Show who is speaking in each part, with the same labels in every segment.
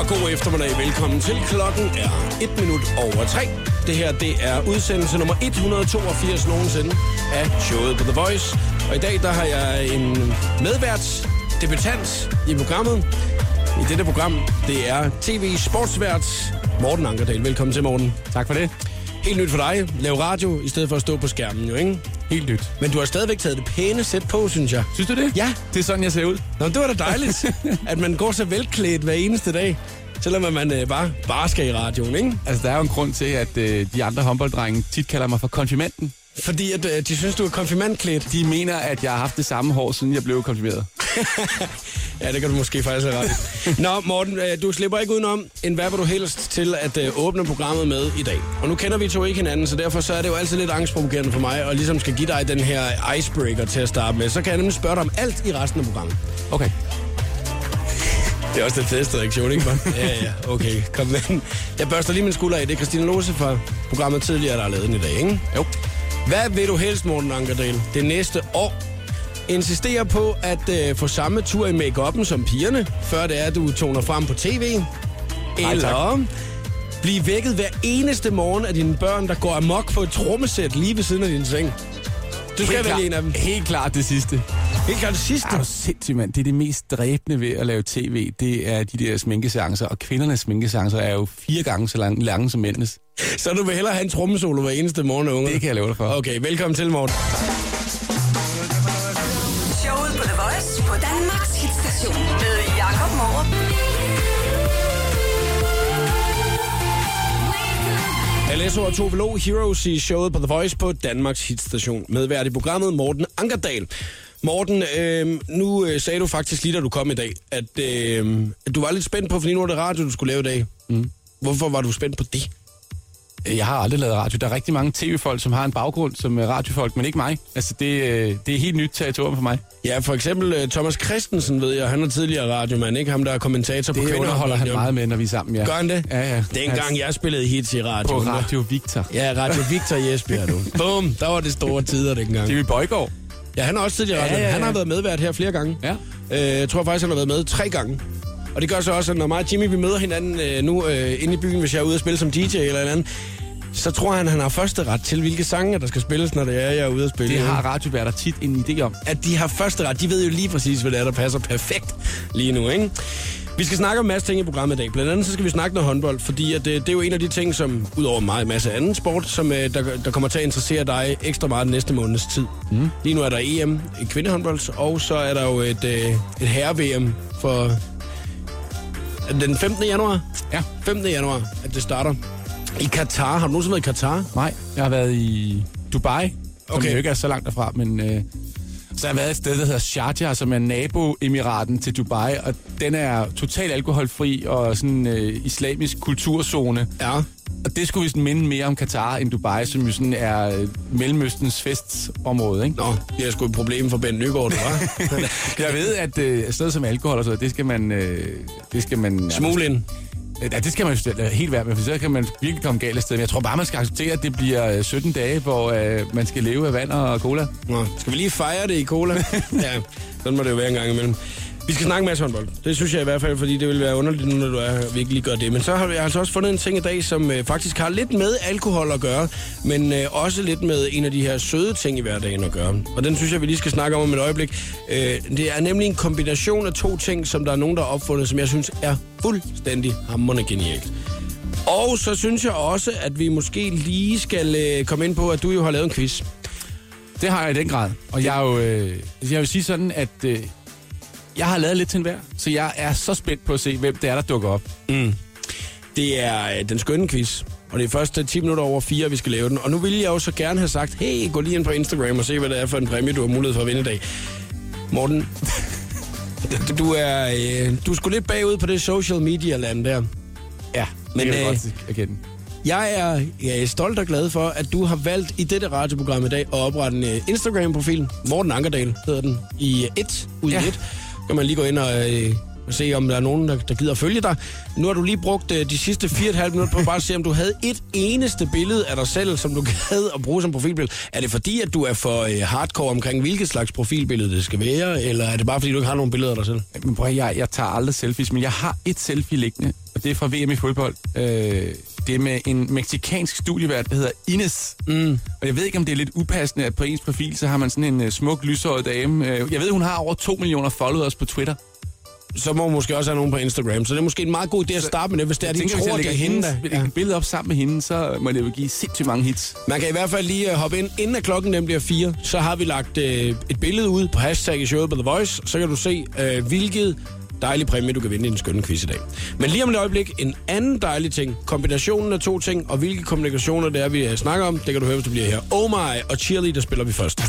Speaker 1: og god eftermiddag. Velkommen til. Klokken er 1 minut over 3. Det her det er udsendelse nummer 182 nogensinde af showet på The Voice. Og i dag der har jeg en medvært, debutant i programmet. I dette program, det er tv-sportsvært Morten Ankerdal. Velkommen til, Morten.
Speaker 2: Tak for det.
Speaker 1: Helt nyt for dig. Lav radio, i stedet for at stå på skærmen, jo ikke?
Speaker 2: Helt nyt.
Speaker 1: Men du har stadigvæk taget det pæne sæt på, synes jeg.
Speaker 2: Synes du det?
Speaker 1: Ja.
Speaker 2: Det er sådan, jeg ser ud.
Speaker 1: Nå, men det var da dejligt, at man går så velklædt hver eneste dag, selvom at man øh, bare, bare skal i radioen, ikke?
Speaker 2: Altså, der er jo en grund til, at øh, de andre håndbolddrenge tit kalder mig for konfirmanden.
Speaker 1: Fordi at, øh, de synes, du er konfirmandklædt.
Speaker 2: De mener, at jeg har haft det samme hår, siden jeg blev konfirmeret.
Speaker 1: Ja, det kan du måske faktisk have ret i. Nå, Morten, øh, du slipper ikke udenom en hvad vil du helst til at øh, åbne programmet med i dag. Og nu kender vi to ikke hinanden, så derfor så er det jo altid lidt angstprovokerende for mig, og ligesom skal give dig den her icebreaker til at starte med. Så kan jeg nemlig spørge dig om alt i resten af programmet.
Speaker 2: Okay.
Speaker 1: Det er også den fedeste reaktion, ikke man? ja, ja, okay, kom med. Jeg børster lige min skulder af. Det er Christine Lose fra programmet tidligere, der har lavet den i dag, ikke?
Speaker 2: Jo.
Speaker 1: Hvad vil du helst, Morten Ankerdal, det næste år? Insisterer på at øh, få samme tur i make som pigerne, før det er, at du toner frem på tv?
Speaker 2: tak.
Speaker 1: Eller blive vækket hver eneste morgen af dine børn, der går amok på et trommesæt lige ved siden af din seng? Du skal vælge en af dem.
Speaker 2: Helt klart altså. det sidste.
Speaker 1: Helt klart det sidste.
Speaker 2: Er du sindssyg, mand? Det er det mest dræbende ved at lave tv. Det er de der sminkeseancer. Og kvindernes sminkeseancer er jo fire gange så lange, lange som mændenes.
Speaker 1: Så du vil hellere have en trommesolo hver eneste morgen, unge?
Speaker 2: Det kan jeg love dig for.
Speaker 1: Okay, velkommen til, Morten.
Speaker 3: Showet på The Voice på Danmarks hitstation med Jakob Morup.
Speaker 1: Alesso og Tove Lo Heroes i showet på The Voice på Danmarks hitstation. Medvært i programmet Morten Ankerdal. Morten, øh, nu øh, sagde du faktisk lige, da du kom i dag, at, øh, at du var lidt spændt på, fordi nu var det radio, du skulle lave i dag. Mm. Hvorfor var du spændt på det?
Speaker 2: Jeg har aldrig lavet radio. Der er rigtig mange tv-folk, som har en baggrund som øh, radiofolk, men ikke mig. Altså, det, øh, det er helt nyt territorium for mig.
Speaker 1: Ja, for eksempel øh, Thomas Christensen, ved jeg, han er tidligere radiomand, ikke? Ham, der er kommentator på
Speaker 2: Det
Speaker 1: kvinder.
Speaker 2: underholder han meget med, når vi er sammen, ja.
Speaker 1: Gør han det?
Speaker 2: Ja, ja.
Speaker 1: Dengang jeg spillede hits i
Speaker 2: På
Speaker 1: radioen. der-
Speaker 2: Radio Victor.
Speaker 1: Ja, Radio Victor Jesper, du. Bum, der var det store tider dengang.
Speaker 2: Jimmy Bøjgaard.
Speaker 1: Ja, han er også tidligere ja, ja, ja. Han har været medvært her flere gange.
Speaker 2: Ja.
Speaker 1: Øh, jeg tror faktisk, han har været med tre gange. Og det gør så også, at når mig og Jimmy vi møder hinanden øh, nu øh, inde i byen, hvis jeg er ude og spille som DJ eller et andet, så tror han, han har første ret til, hvilke sange, der skal spilles, når det er, jeg er ude og spille.
Speaker 2: Det har radioværter tit en idé om.
Speaker 1: At de har første ret, de ved jo lige præcis, hvad det er, der passer perfekt lige nu, ikke? Vi skal snakke om en masse ting i programmet i dag. Blandt andet så skal vi snakke noget håndbold, fordi at, øh, det er jo en af de ting, som udover mig en masse anden sport, som øh, der, der kommer til at interessere dig ekstra meget den næste måneds tid. Mm. Lige nu er der EM i kvindehåndbold, og så er der jo et, øh, et herre-VM for er det den 15. januar.
Speaker 2: Ja.
Speaker 1: 15. januar, at det starter. I Katar. Har du nogensinde været i Katar?
Speaker 2: Nej, jeg har været i Dubai, okay.
Speaker 1: Okay.
Speaker 2: som jo ikke er så langt derfra, men... Øh, så har jeg været et sted, der hedder Sharjah, som er naboemiraten til Dubai, og den er totalt alkoholfri og sådan øh, islamisk kulturzone.
Speaker 1: Ja.
Speaker 2: Og det skulle vi sådan minde mere om Katar end Dubai, som jo sådan er øh, Mellemøstens festområde, ikke?
Speaker 1: Nå, jeg skulle et problem for Ben Nygaard, du var.
Speaker 2: Jeg ved, at øh, sådan noget som alkohol og sådan noget, det skal man... Øh, det skal man
Speaker 1: Smule ind.
Speaker 2: Øh, Ja, det skal man jo selv lade helt være med, for så kan man virkelig komme galt af sted. Men jeg tror bare, man skal acceptere, at det bliver øh, 17 dage, hvor øh, man skal leve af vand og cola.
Speaker 1: Nå, skal vi lige fejre det i cola? ja, sådan må det jo være en gang imellem. Vi skal snakke masse håndbold. Det synes jeg i hvert fald, fordi det vil være underligt, nu, når du er her, vi ikke lige gør det. Men så har vi altså også fundet en ting i dag, som øh, faktisk har lidt med alkohol at gøre, men øh, også lidt med en af de her søde ting i hverdagen at gøre. Og den synes jeg, vi lige skal snakke om om et øjeblik. Øh, det er nemlig en kombination af to ting, som der er nogen, der har opfundet, som jeg synes er fuldstændig hammerende genialt. Og så synes jeg også, at vi måske lige skal øh, komme ind på, at du jo har lavet en quiz.
Speaker 2: Det har jeg i den grad. Og jeg, er jo, øh, jeg vil sige sådan, at øh, jeg har lavet lidt til enhver, så jeg er så spændt på at se, hvem det er, der dukker op.
Speaker 1: Det er øh, den skønne quiz. Og det er først øh, 10 minutter over 4, vi skal lave den. Og nu ville jeg jo så gerne have sagt, hey, gå lige ind på Instagram og se, hvad det er for en præmie, du har mulighed for at vinde i dag. Morten, du er, øh, du er sgu lidt bagud på det social media land der.
Speaker 2: Ja,
Speaker 1: men,
Speaker 2: men det kan
Speaker 1: øh,
Speaker 2: jeg godt erkende.
Speaker 1: Jeg er, jeg er stolt og glad for, at du har valgt i dette radioprogram i dag at oprette en øh, Instagram-profil. Morten Ankerdal hedder den. I 1 ud i
Speaker 2: Ja.
Speaker 1: 1. Kan man lige gå ind og, øh, og se, om der er nogen, der, der gider at følge dig. Nu har du lige brugt øh, de sidste 4,5 minutter på bare at se, om du havde et eneste billede af dig selv, som du gad at bruge som profilbillede. Er det fordi, at du er for øh, hardcore omkring, hvilket slags profilbillede det skal være? Eller er det bare fordi, du ikke har nogen billeder af dig selv?
Speaker 2: Men prøv at, høre, jeg, jeg tager aldrig selfies, men jeg har et selfie liggende, og det er fra VM i fodbold. Øh, det er med en meksikansk studievært, der hedder Ines. Mm. Og jeg ved ikke, om det er lidt upassende, at på ens profil, så har man sådan en øh, smuk, lyshåret dame. Øh, jeg ved, hun har over 2 millioner followers på Twitter.
Speaker 1: Så må hun måske også have nogen på Instagram. Så det er måske en meget god idé at starte med det, hvis det er, de
Speaker 2: hvis
Speaker 1: tror, det er hende, der...
Speaker 2: hendes
Speaker 1: Ja.
Speaker 2: ja. billede op sammen med hende, så må det jo give sindssygt mange hits.
Speaker 1: Man kan i hvert fald lige øh, hoppe ind, inden at klokken den bliver fire. Så har vi lagt øh, et billede ud på hashtag showet på The Voice. Så kan du se, øh, hvilket dejlig præmie, du kan vinde i den skønne quiz i dag. Men lige om et øjeblik, en anden dejlig ting. Kombinationen af to ting, og hvilke kombinationer det er, vi øh, snakker om, det kan du høre, hvis du bliver her. Oh my og cheerleader spiller vi først.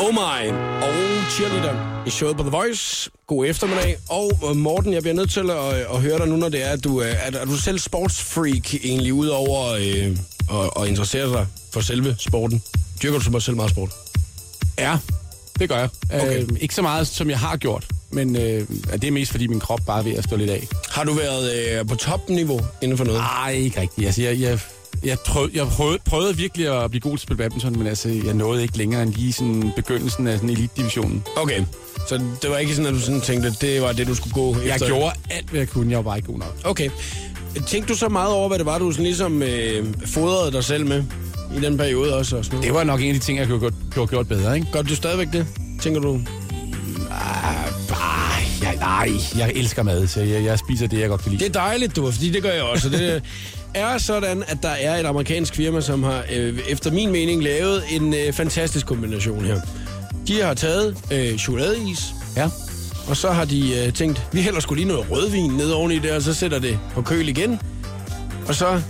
Speaker 1: Oh my og cheerleader i showet på The Voice. God eftermiddag. Og øh, Morten, jeg bliver nødt til at, øh, at høre dig nu, når det er, at du øh, er, er du selv sportsfreak egentlig, udover øh, og, og interessere dig for selve sporten. Dyrker du så selv meget sport?
Speaker 2: Ja, det gør jeg.
Speaker 1: Okay.
Speaker 2: Okay. Øh, ikke så meget, som jeg har gjort, men øh, det er mest, fordi min krop bare er ved at stå lidt af.
Speaker 1: Har du været øh, på topniveau inden for noget?
Speaker 2: Nej, ikke rigtigt. Altså, jeg, jeg, jeg, prøv, jeg prøvede, prøvede virkelig at blive god til at spille badminton, men altså, jeg nåede ikke længere end lige sådan begyndelsen af sådan elite-divisionen.
Speaker 1: Okay, så det var ikke sådan, at du sådan tænkte, at det var det, du skulle gå
Speaker 2: Jeg
Speaker 1: efter?
Speaker 2: gjorde alt, hvad jeg kunne. Jeg var bare ikke god nok.
Speaker 1: Okay. Tænkte du så meget over, hvad det var, du sådan ligesom øh, fodrede dig selv med i den periode også? Og sådan noget?
Speaker 2: Det var nok en af de ting, jeg kunne have gjort- gjort, gjort bedre, ikke?
Speaker 1: Gør du stadigvæk det, tænker du?
Speaker 2: Ej, jeg, nej, jeg elsker mad, så jeg, jeg spiser det, jeg godt kan lide.
Speaker 1: Det er dejligt, du, fordi det gør jeg også. Det er sådan, at der er et amerikansk firma, som har øh, efter min mening lavet en øh, fantastisk kombination her. De har taget øh, chokoladeis,
Speaker 2: Ja.
Speaker 1: og så har de øh, tænkt, vi hælder skulle lige noget rødvin ned oveni det, og så sætter det på køl igen. Og så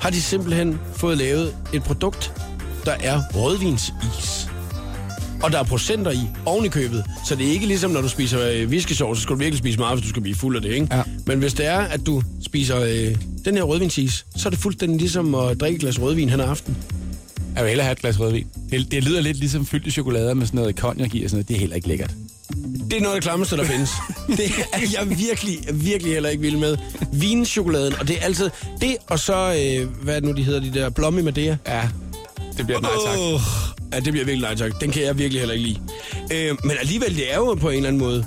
Speaker 1: har de simpelthen fået lavet et produkt, der er rødvinsis. Og der er procenter i oven i købet, så det er ikke ligesom, når du spiser øh, viskesovs, så skal du virkelig spise meget, hvis du skal blive fuld af det, ikke?
Speaker 2: Ja.
Speaker 1: Men hvis det er, at du spiser øh, den her rødvinsis, så er det fuldstændig ligesom at drikke et glas rødvin hen ad aften.
Speaker 2: Jeg vil hellere have et glas rødvin. Det, det lyder lidt ligesom fyldte chokolader med sådan noget cognac i og sådan noget. Det er heller ikke lækkert.
Speaker 1: Det er noget af det klammeste, der findes. Det er jeg virkelig, virkelig heller ikke vild med. Vinchokoladen, og det er altid det, og så, øh, hvad er det nu, de hedder, de der blomme Madea.
Speaker 2: Ja, det bliver et nej tak.
Speaker 1: Åh, ja, det bliver virkelig nej tak. Den kan jeg virkelig heller ikke lide. Øh, men alligevel, det er jo på en eller anden måde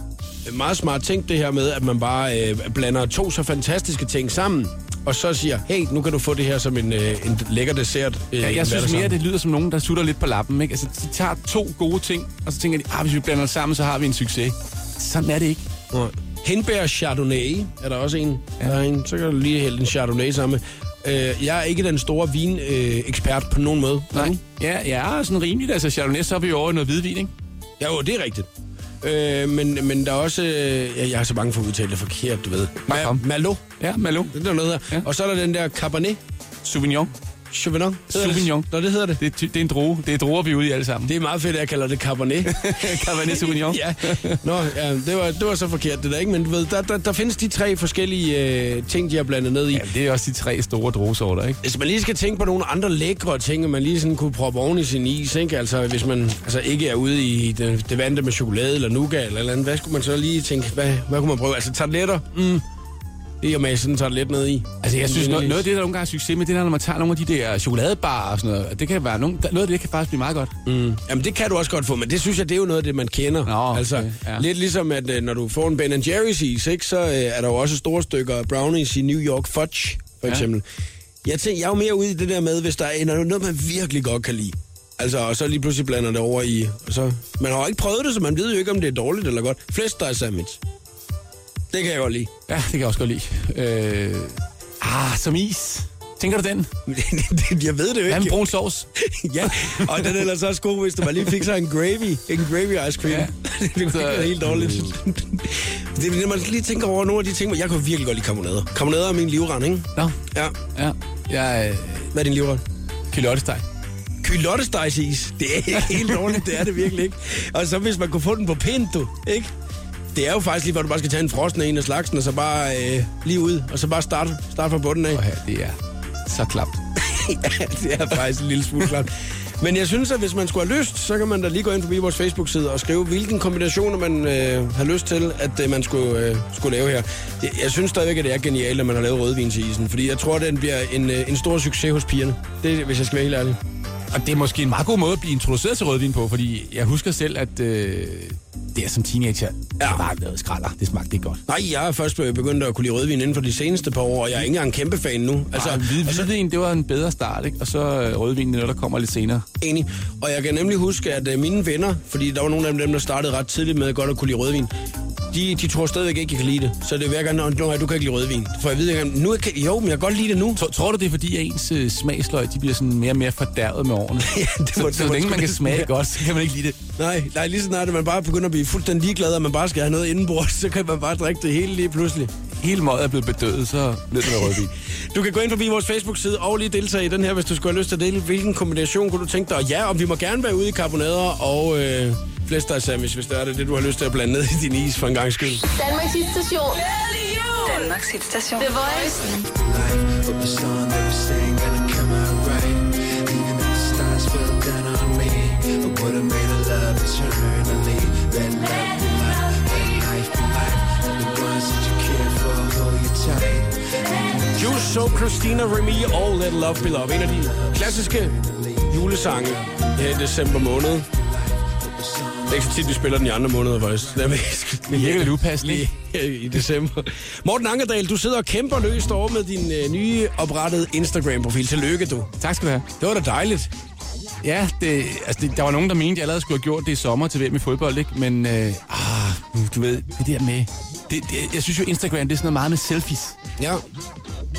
Speaker 1: meget smart tænkt det her med, at man bare øh, blander to så fantastiske ting sammen, og så siger, hey, nu kan du få det her som en, øh, en lækker dessert. Øh,
Speaker 2: Ja,
Speaker 1: en
Speaker 2: jeg synes
Speaker 1: hverdagsaften."
Speaker 2: mere, det lyder som nogen, der sutter lidt på lappen. Ikke? Altså, de tager to gode ting, og så tænker de, ah, hvis vi blander det sammen, så har vi en succes. Sådan er det ikke.
Speaker 1: Nej. Hindbær Chardonnay er der også en. Ja. Der er en. Så kan du lige hælde en Chardonnay sammen. Øh, jeg er ikke den store vinekspert øh, ekspert på nogen måde.
Speaker 2: Nej. Ja, ja, sådan rimeligt. Altså, Chardonnay, så er vi jo over i noget hvidvin, ikke?
Speaker 1: Ja, jo, det er rigtigt. Øh, men, men der er også... Øh, jeg, jeg er så bange for at udtale det forkert, du ved.
Speaker 2: Bare kom.
Speaker 1: Malo.
Speaker 2: Ja, Malo.
Speaker 1: Det er noget der. Ja.
Speaker 2: Ja.
Speaker 1: Og så er der den der Cabernet
Speaker 2: Sauvignon.
Speaker 1: Sauvignon. hedder det?
Speaker 2: Sauvignon.
Speaker 1: Nå, det hedder det.
Speaker 2: Det, er ty- det er en droge. Det er droger, vi er ude i alle sammen.
Speaker 1: Det er meget fedt, at jeg kalder det Cabernet.
Speaker 2: Cabernet Sauvignon.
Speaker 1: ja. Nå, ja, det, var, det var så forkert, det der, ikke? Men du ved, der, der, der findes de tre forskellige øh, ting, de har blandet ned i.
Speaker 2: Ja, det er også de tre store drogesorter, ikke?
Speaker 1: Hvis man lige skal tænke på nogle andre lækre ting, og man lige sådan kunne proppe oven i sin is, ikke? Altså, hvis man altså, ikke er ude i det, det vante med chokolade eller nougat eller et eller andet, hvad skulle man så lige tænke, hvad, hvad kunne man prøve? Altså, tabletter? Mm. Det er med sådan en tablet ned i.
Speaker 2: Altså, jeg synes, noget,
Speaker 1: Vaniljeis.
Speaker 2: noget af det, der nogle gange er succes med, det er, når man tager nogle af de der chokoladebarer og sådan noget. Og Det kan være nogle, der- noget af det kan faktisk blive meget godt.
Speaker 1: Mm. Jamen, det kan du også godt få, men det synes jeg, det er jo noget af det, man kender.
Speaker 2: Nå,
Speaker 1: altså,
Speaker 2: okay, ja.
Speaker 1: lidt ligesom, at øh, når du får en Ben Jerry's is, ikke, så øh, er der jo også store stykker brownies i New York Fudge, for
Speaker 2: Ja.
Speaker 1: eksempel. Jeg, tænker, jeg er jo mere ude i det der med, hvis der er når der er noget, man virkelig godt kan lide. Altså, og så lige pludselig blander det over i... Og så, man har jo ikke prøvet det, så man ved jo ikke, om det er dårligt eller godt. Flæskesteg sandwich. Det kan jeg godt lide.
Speaker 2: Ja, det kan jeg også godt lide. Øh, ah, som is. Tænker du den?
Speaker 1: jeg ved det jo
Speaker 2: Hvad med
Speaker 1: ikke.
Speaker 2: brun sovs?
Speaker 1: ja, og den er ellers også god, hvis du bare lige fik sig en gravy. En gravy ice cream. Ja.
Speaker 2: Ja.
Speaker 1: det bliver
Speaker 2: Så-
Speaker 1: helt dårligt. det er, når man lige tænker over nogle af de ting, hvor jeg kan virkelig godt lide karbonader. Karbonader er min livret, ikke?
Speaker 2: Nå,
Speaker 1: Ja.
Speaker 2: ja. Jeg
Speaker 1: Hvad er din livret?
Speaker 2: øh, kylottesteg.
Speaker 1: Kylottestejsis. Det er ikke helt dårligt, det er det virkelig ikke. Og så hvis man kunne få den på pinto, ikke? Det er jo faktisk lige, hvor du bare skal tage en frosten af en af slagsen, og så bare øh, lige ud, og så bare starte, starte fra bunden af.
Speaker 2: Og her, det er så klamt.
Speaker 1: ja, det er faktisk en lille smule klart. Men jeg synes, at hvis man skulle have lyst, så kan man da lige gå ind forbi vores Facebook-side og skrive, hvilken kombination man øh, har lyst til, at øh, man skulle, øh, skulle lave her. Jeg, jeg synes stadigvæk, at det er genialt, at man har lavet rødvin til isen, fordi jeg tror, at den bliver en, øh, en stor succes hos pigerne. Det, er- hvis jeg skal være helt ærlig.
Speaker 2: Og det er måske en meget god måde at blive introduceret til rødvin på, fordi jeg husker selv, at øh, det er som teenager, ja. det var noget skralder. Det smagte ikke godt.
Speaker 1: Nej, jeg er først øh, begyndt at kunne lide rødvin inden for de seneste par år, og jeg er ikke engang en kæmpe fan nu.
Speaker 2: Altså, hvid, altså, hvidvin, det var en bedre start, ikke? Og så øh, rødvin, det er noget, der kommer lidt senere.
Speaker 1: Enig. Og jeg kan nemlig huske, at øh, mine venner, fordi der var nogle af dem, der startede ret tidligt med godt at kunne lide rødvin, de, de tror stadigvæk ikke, jeg kan lide det. Så det virker, at du kan ikke lide rødvin. For jeg ved ikke, om- nu jeg kan, jo, men jeg kan godt lide det nu.
Speaker 2: Tror, tror du, det er fordi, at ens øh, smagsløg, de bliver sådan mere og mere fordærvet med årene?
Speaker 1: Ja, det må-
Speaker 2: så,
Speaker 1: det
Speaker 2: så
Speaker 1: må
Speaker 2: længe
Speaker 1: sgu
Speaker 2: man kan
Speaker 1: næsten
Speaker 2: smage
Speaker 1: være.
Speaker 2: godt, så kan man ikke lide det.
Speaker 1: Nej, nej, lige så snart, at man bare begynder at blive fuldstændig ligeglad, og man bare skal have noget indenbords, så kan man bare drikke det hele lige pludselig.
Speaker 2: Hele møget er blevet bedøvet, så bliver det med rødvin.
Speaker 1: Du kan gå ind forbi vores Facebook-side og lige deltage i den her, hvis du skulle have lyst til at dele. Hvilken kombination kunne du tænke dig? Og ja, og vi må gerne være ude i karbonader og øh, flæsteg sandwich, hvis det er det, det, du har lyst til at blande ned i din is for en gang skyld.
Speaker 4: Danmarks hitstation.
Speaker 3: Danmarks hitstation.
Speaker 4: The Voice.
Speaker 5: light But the song that we sang gonna come out right Even if the stars fell down on me I would've made a love eternally Let life be life, let life be life And the ones that you care for, hold you tight
Speaker 1: Juice, So, Christina Remy og Let Love Be Love. En af de klassiske julesange her i december måned. Det er ikke så tit, vi spiller den i andre måneder, faktisk. Det er mest
Speaker 2: Det virker lidt upassende,
Speaker 1: lige
Speaker 2: ikke?
Speaker 1: her i december. Morten Ankerdal, du sidder og kæmper løst over med din øh, nye oprettede Instagram-profil. Tillykke, du.
Speaker 2: Tak skal du have.
Speaker 1: Det var da dejligt.
Speaker 2: Ja, det, altså det, der var nogen, der mente, at jeg allerede skulle have gjort det i sommer til VM i fodbold, ikke? Men øh, ah, du ved, det der med... Det, det, jeg synes jo, Instagram, det er sådan noget meget med selfies.
Speaker 1: Ja.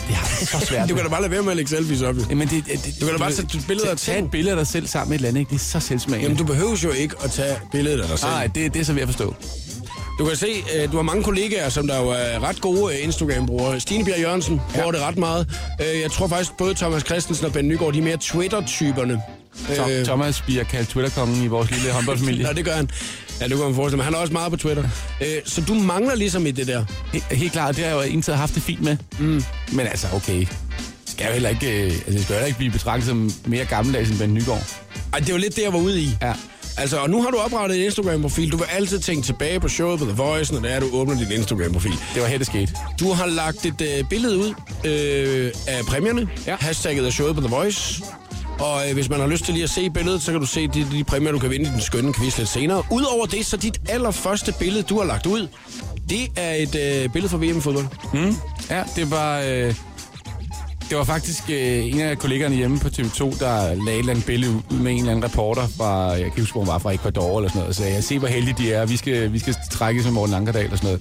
Speaker 2: Det har jeg så svært
Speaker 1: Du kan
Speaker 2: med.
Speaker 1: da bare lade være med at lægge selfies op, jo.
Speaker 2: Jamen, det, det, det,
Speaker 1: Du kan da bare
Speaker 2: ved,
Speaker 1: sætte billeder af
Speaker 2: tag- Tag
Speaker 1: ting.
Speaker 2: et billede af dig selv sammen med et eller andet, ikke? Det er så selvsmagende.
Speaker 1: Jamen, du behøver jo ikke at tage billedet af dig selv.
Speaker 2: Nej, det, det er så ved at forstå.
Speaker 1: Du kan se, øh, du har mange kollegaer, som der jo er ret gode øh, Instagram-brugere. Stine Bjerg Jørgensen ja. bruger det ret meget. Øh, Jeg tror faktisk, både Thomas Christensen og Ben Nygaard, de er mere Twitter-typerne.
Speaker 2: Tom,
Speaker 1: Øh,
Speaker 2: Thomas bliver kaldt Twitter-kongen i vores lille håndboldfamilie.
Speaker 1: Nå, det gør han. Ja, det kunne man forestille mig. Han er også meget på Twitter. Øh, Så du mangler ligesom i det der.
Speaker 2: He- Helt klart, det har jeg jo indtil haft det fint med. Mm. Men altså, okay. Skal jeg jo heller ikke, øh, altså, jeg skal jo heller ikke blive betragtet som mere gammeldags end Ben Nygaard.
Speaker 1: Ej, det var lidt det, jeg var ude i.
Speaker 2: Ja.
Speaker 1: Altså, og nu har du oprettet en Instagram-profil. Du vil altid tænke tilbage på showet på The Voice, når det er, du åbner din Instagram-profil.
Speaker 2: Det var her, det skete.
Speaker 1: Du har lagt et øh, billede ud øh, af præmierne. Ja.
Speaker 2: Ja.
Speaker 1: Hashtagget er showet på The Voice. Og øh, hvis man har lyst til lige at se billedet, så kan du se de, de præmier, du kan vinde i den skønne quiz lidt senere. Udover det, så dit allerførste billede, du har lagt ud, det er et øh, billede fra VM i fodbold.
Speaker 2: Ja, det var... Øh, det var faktisk øh, en af kollegerne hjemme på TV2, der lagde et eller andet billede ud med en eller anden reporter fra, jeg kan ikke huske, hvor hun var fra Ecuador eller sådan noget, og sagde, "Ja, se hvor heldige de er, vi skal, vi skal trække som Morten Ankerdal eller sådan noget.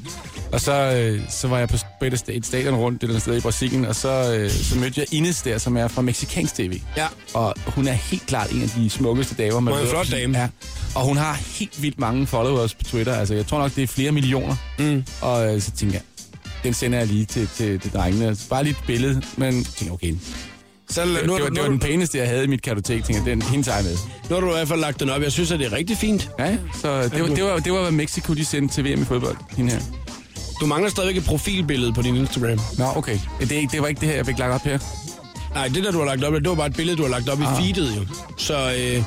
Speaker 2: Og så, øh, så var jeg på på et, sta- et stadion rundt, det der sted i Brasilien, og så, øh, så mødte jeg Ines der, som er fra Mexikansk TV.
Speaker 1: Ja.
Speaker 2: Og hun er helt klart en af de smukkeste damer. Man
Speaker 1: Hun er en
Speaker 2: møder.
Speaker 1: flot dame.
Speaker 2: Ja. Og hun har helt vildt mange followers på Twitter. Altså, jeg tror nok, det er flere millioner. Mm. Og øh, så tænker jeg, den sender jeg lige til, til, til drengene. Altså, bare lige et billede, men tænker, jeg, okay. Det,
Speaker 1: Så nu,
Speaker 2: det,
Speaker 1: har
Speaker 2: var,
Speaker 1: du, nu,
Speaker 2: det var
Speaker 1: har du,
Speaker 2: den pæneste, jeg havde i mit kartotek. Tænker, jeg, den hende tager jeg med.
Speaker 1: nu har du i hvert fald lagt den op. Jeg synes, at det er rigtig fint.
Speaker 2: Ja, så det, var, det, var, det var, hvad Mexico de sendte til VM i fodbold. Hende her.
Speaker 1: Du mangler stadigvæk et profilbillede på din Instagram.
Speaker 2: Nå, okay. Det, er ikke- det var ikke det her, jeg fik lagt op her.
Speaker 1: Nej, det der, du har lagt op, det var bare et billede, du har lagt op ah. i feedet jo. Så øh,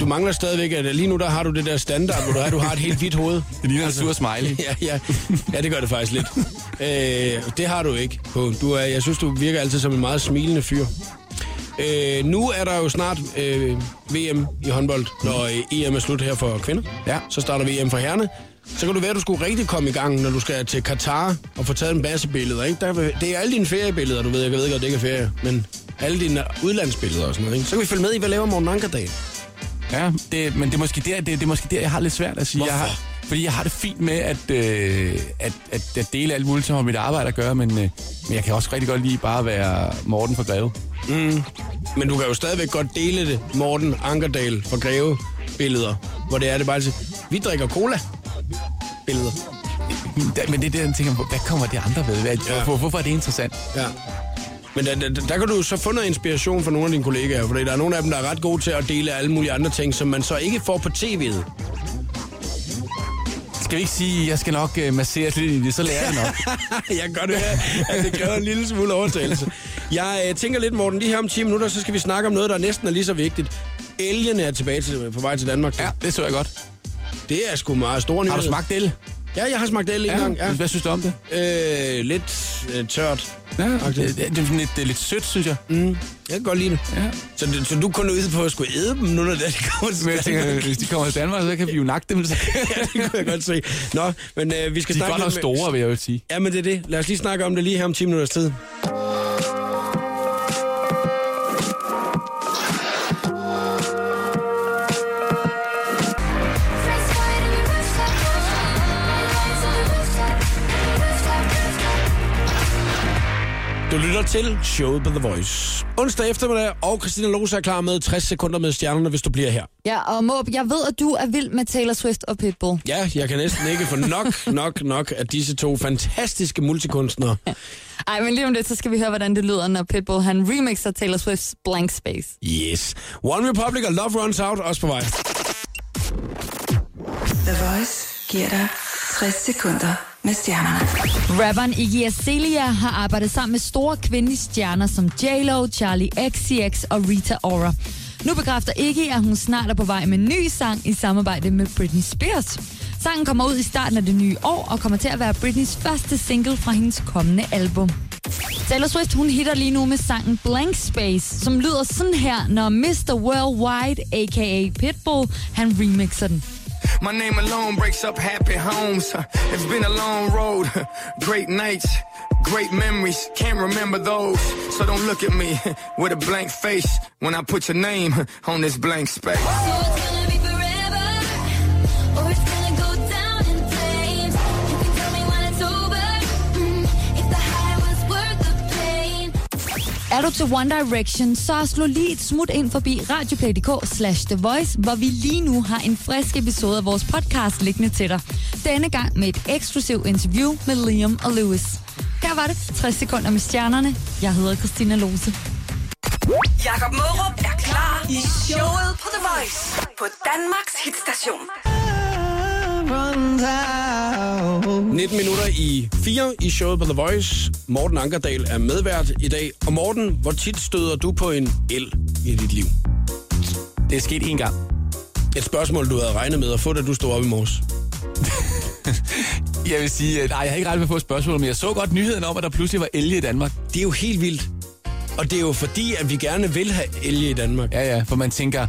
Speaker 1: du mangler stadigvæk, at lige nu der har du det der standard, hvor du, er, du har et helt hvidt hoved.
Speaker 2: Det ligner altså, en sur smiley.
Speaker 1: Ja, ja. ja, det gør det faktisk lidt. Øh, det har du ikke. på. Du er, jeg synes, du virker altid som en meget smilende fyr. Øh, nu er der jo snart øh, VM i håndbold, når øh, EM er slut her for kvinder.
Speaker 2: Ja.
Speaker 1: Så starter VM for herrene. Så kan du være, at du skulle rigtig komme i gang, når du skal til Katar og få taget en masse billeder. Ikke? Der, vil- det er alle dine feriebilleder, du ved. Jeg ved godt, det ikke er ferie, men alle dine udlandsbilleder og sådan noget. Ikke? Så kan vi følge med i, hvad laver Morten Ankerdag?
Speaker 2: Ja, det, men det er, måske der, det, det er måske der, jeg har lidt svært at sige. Jeg har, fordi jeg har det fint med at, øh, at, at, at dele alt muligt, som har mit arbejde at gøre, men, øh, men jeg kan også rigtig godt lide bare at være Morten for Greve.
Speaker 1: Men du kan jo stadigvæk godt dele det, Morten Ankerdal fra Greve billeder, hvor det er det bare til, vi drikker cola billeder.
Speaker 2: Da- Men det er der, jeg tænker på, hvad kommer det andre ved? Hvad,
Speaker 1: Ja.
Speaker 2: ja. hvor, hvorfor er det interessant?
Speaker 1: Ja. Men der, der, der kan du så få noget inspiration fra nogle af dine kollegaer, fordi der er nogle af dem, der er ret gode til at dele alle mulige andre ting, som man så ikke får på tv'et.
Speaker 2: Skal vi ikke sige, at jeg skal nok øh, masseres lidt i det, så lærer jeg nok.
Speaker 1: jeg kan godt høre, at det kræver en lille smule overtagelse. Jeg øh, tænker lidt, Morten, lige her om 10 minutter, så skal vi snakke om noget, der næsten er lige så vigtigt. Elgen er tilbage til, på vej til Danmark.
Speaker 2: ja, det så jeg godt.
Speaker 1: Det er sgu meget store nyheder.
Speaker 2: Har du smagt el?
Speaker 1: Ja, jeg har smagt el en gang. Ja.
Speaker 2: Hvad synes du om det?
Speaker 1: Øh, lidt øh, tørt.
Speaker 2: Ja, det, det, det, er sådan lidt, det er lidt sødt, synes jeg. Mm.
Speaker 1: Jeg kan godt lide det.
Speaker 2: Ja.
Speaker 1: Så, du- så du kunne ud på at skulle æde dem, nu når det kommer til
Speaker 2: Men øh, jeg tænker, hvis de kommer til Danmark, så kan vi jo nakke dem. Så.
Speaker 1: ja, det kunne jeg godt se. Nå, men øh, vi skal
Speaker 2: De er
Speaker 1: snakke
Speaker 2: godt nok
Speaker 1: lidt med-
Speaker 2: store, vil jeg jo sige.
Speaker 1: Ja, men det er det. Lad os lige snakke om det lige her om 10 minutters tid. Du lytter til showet på The Voice. Onsdag eftermiddag, og Christina Lose er klar med 60 sekunder med stjernerne, hvis du bliver her.
Speaker 4: Ja, og Måb, jeg ved, at du er vild med Taylor Swift og Pitbull.
Speaker 1: Ja, jeg kan næsten ikke få nok, nok, nok af disse to fantastiske multikunstnere.
Speaker 4: Ej, men lige om lidt, så skal vi høre, hvordan det lyder, når Pitbull han remixer Taylor Swift's Blank Space.
Speaker 1: Yes. One Republic og Love Runs Out, også på vej.
Speaker 3: The Voice giver dig 60 sekunder med stjernerne.
Speaker 4: Rapperen Iggy Azalea har arbejdet sammen med store kvindelige stjerner som J-Lo, Charlie XCX og Rita Ora. Nu bekræfter Iggy, at hun snart er på vej med en ny sang i samarbejde med Britney Spears. Sangen kommer ud i starten af det nye år og kommer til at være Britneys første single fra hendes kommende album. Taylor Swift, hun hitter lige nu med sangen Blank Space, som lyder sådan her, når Mr. Worldwide, a.k.a. Pitbull, han remixer den.
Speaker 6: My name alone breaks up happy homes. huh. It's been a long road. huh. Great nights, great memories. Can't remember those. So don't look at me huh, with a blank face when I put your name huh, on this blank space.
Speaker 4: Er du til One Direction, så slå lige et smut ind forbi radioplay.dk slash The Voice, hvor vi lige nu har en frisk episode af vores podcast liggende til dig. Denne gang med et eksklusivt interview med Liam og Lewis. Her var det 60 sekunder med stjernerne. Jeg hedder Christina Lose.
Speaker 3: Jakob Mørup er klar i showet på The Voice på Danmarks hitstation.
Speaker 1: 19 minutter i 4 i showet på The Voice. Morten Ankerdal er medvært i dag. Og Morten, hvor tit støder du på en el i dit liv?
Speaker 2: Det er sket én gang.
Speaker 1: Et spørgsmål, du havde regnet med at få, da du stod op i morges.
Speaker 2: Jeg vil sige, at nej, jeg har ikke ret med at få et spørgsmål, men jeg så godt nyheden om, at der pludselig var elge i Danmark.
Speaker 1: Det er jo helt vildt. Og det er jo fordi, at vi gerne vil have elge i Danmark.
Speaker 2: Ja, ja, for man tænker,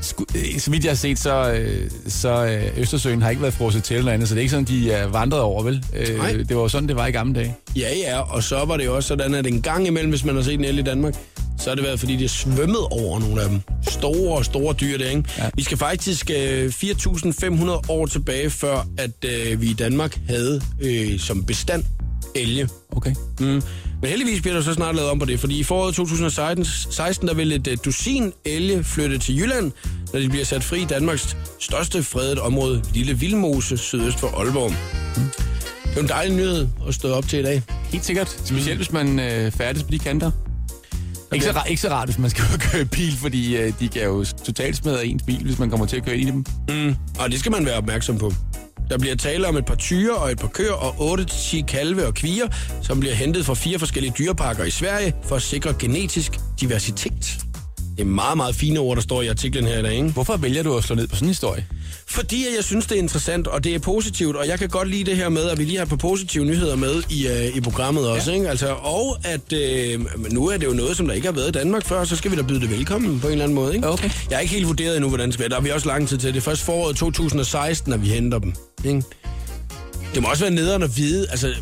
Speaker 2: sku, øh, så vidt jeg har set, så, øh, så øh, Østersøen har ikke været frosset til eller andet, så det er ikke sådan, de er vandret over, vel? Øh,
Speaker 1: Nej.
Speaker 2: det var jo sådan, det var i gamle dage.
Speaker 1: Ja, ja, og så var det jo også sådan, at en gang imellem, hvis man har set en el i Danmark, så har det været, fordi de har svømmet over nogle af dem. Store, store dyr der, ikke? Ja.
Speaker 2: Ja.
Speaker 1: Vi skal faktisk øh, 4.500 år tilbage, før at øh, vi i Danmark havde øh, som bestand elge.
Speaker 2: Okay.
Speaker 1: Mm. Men heldigvis bliver der så snart lavet om på det, fordi i foråret 2016, der vil et øh, dusin elge flytte til Jylland, når de bliver sat fri i Danmarks største fredet område, Lille Vildmose, sydøst for Aalborg. Mm. Det er jo en dejlig nyhed at stå op til i dag.
Speaker 2: Helt sikkert. Specielt, hvis man øh, færdes på de kanter. Ikke, så rart, ikke så rart, hvis man skal ud og køre i bil, fordi øh, de kan jo totalt smadre ens bil, hvis man kommer til at køre ind i dem.
Speaker 1: Og det skal man være opmærksom på. Der bliver tale om et par tyre og et par køer og 8-10 kalve og kvier, som bliver hentet fra fire forskellige dyreparker i Sverige for at sikre genetisk diversitet. Det er meget, meget fine ord, der står i artiklen her i dag, ikke?
Speaker 2: Hvorfor vælger du at slå ned på sådan en historie?
Speaker 1: Fordi at jeg synes, det er interessant, og det er positivt, og jeg kan godt lide det her med, at vi lige har på positive nyheder med i, øh, i programmet også. Ja. Ikke? Altså, og at øh, nu er det jo noget, som der ikke har været i Danmark før, så skal vi da byde det velkommen på en eller anden måde. Ikke?
Speaker 2: Okay.
Speaker 1: Jeg har ikke helt vurderet endnu, hvordan det skal være. Der har vi også lang tid til. Det er først foråret 2016, at vi henter dem. Ikke? Det må også være nederen at vide, altså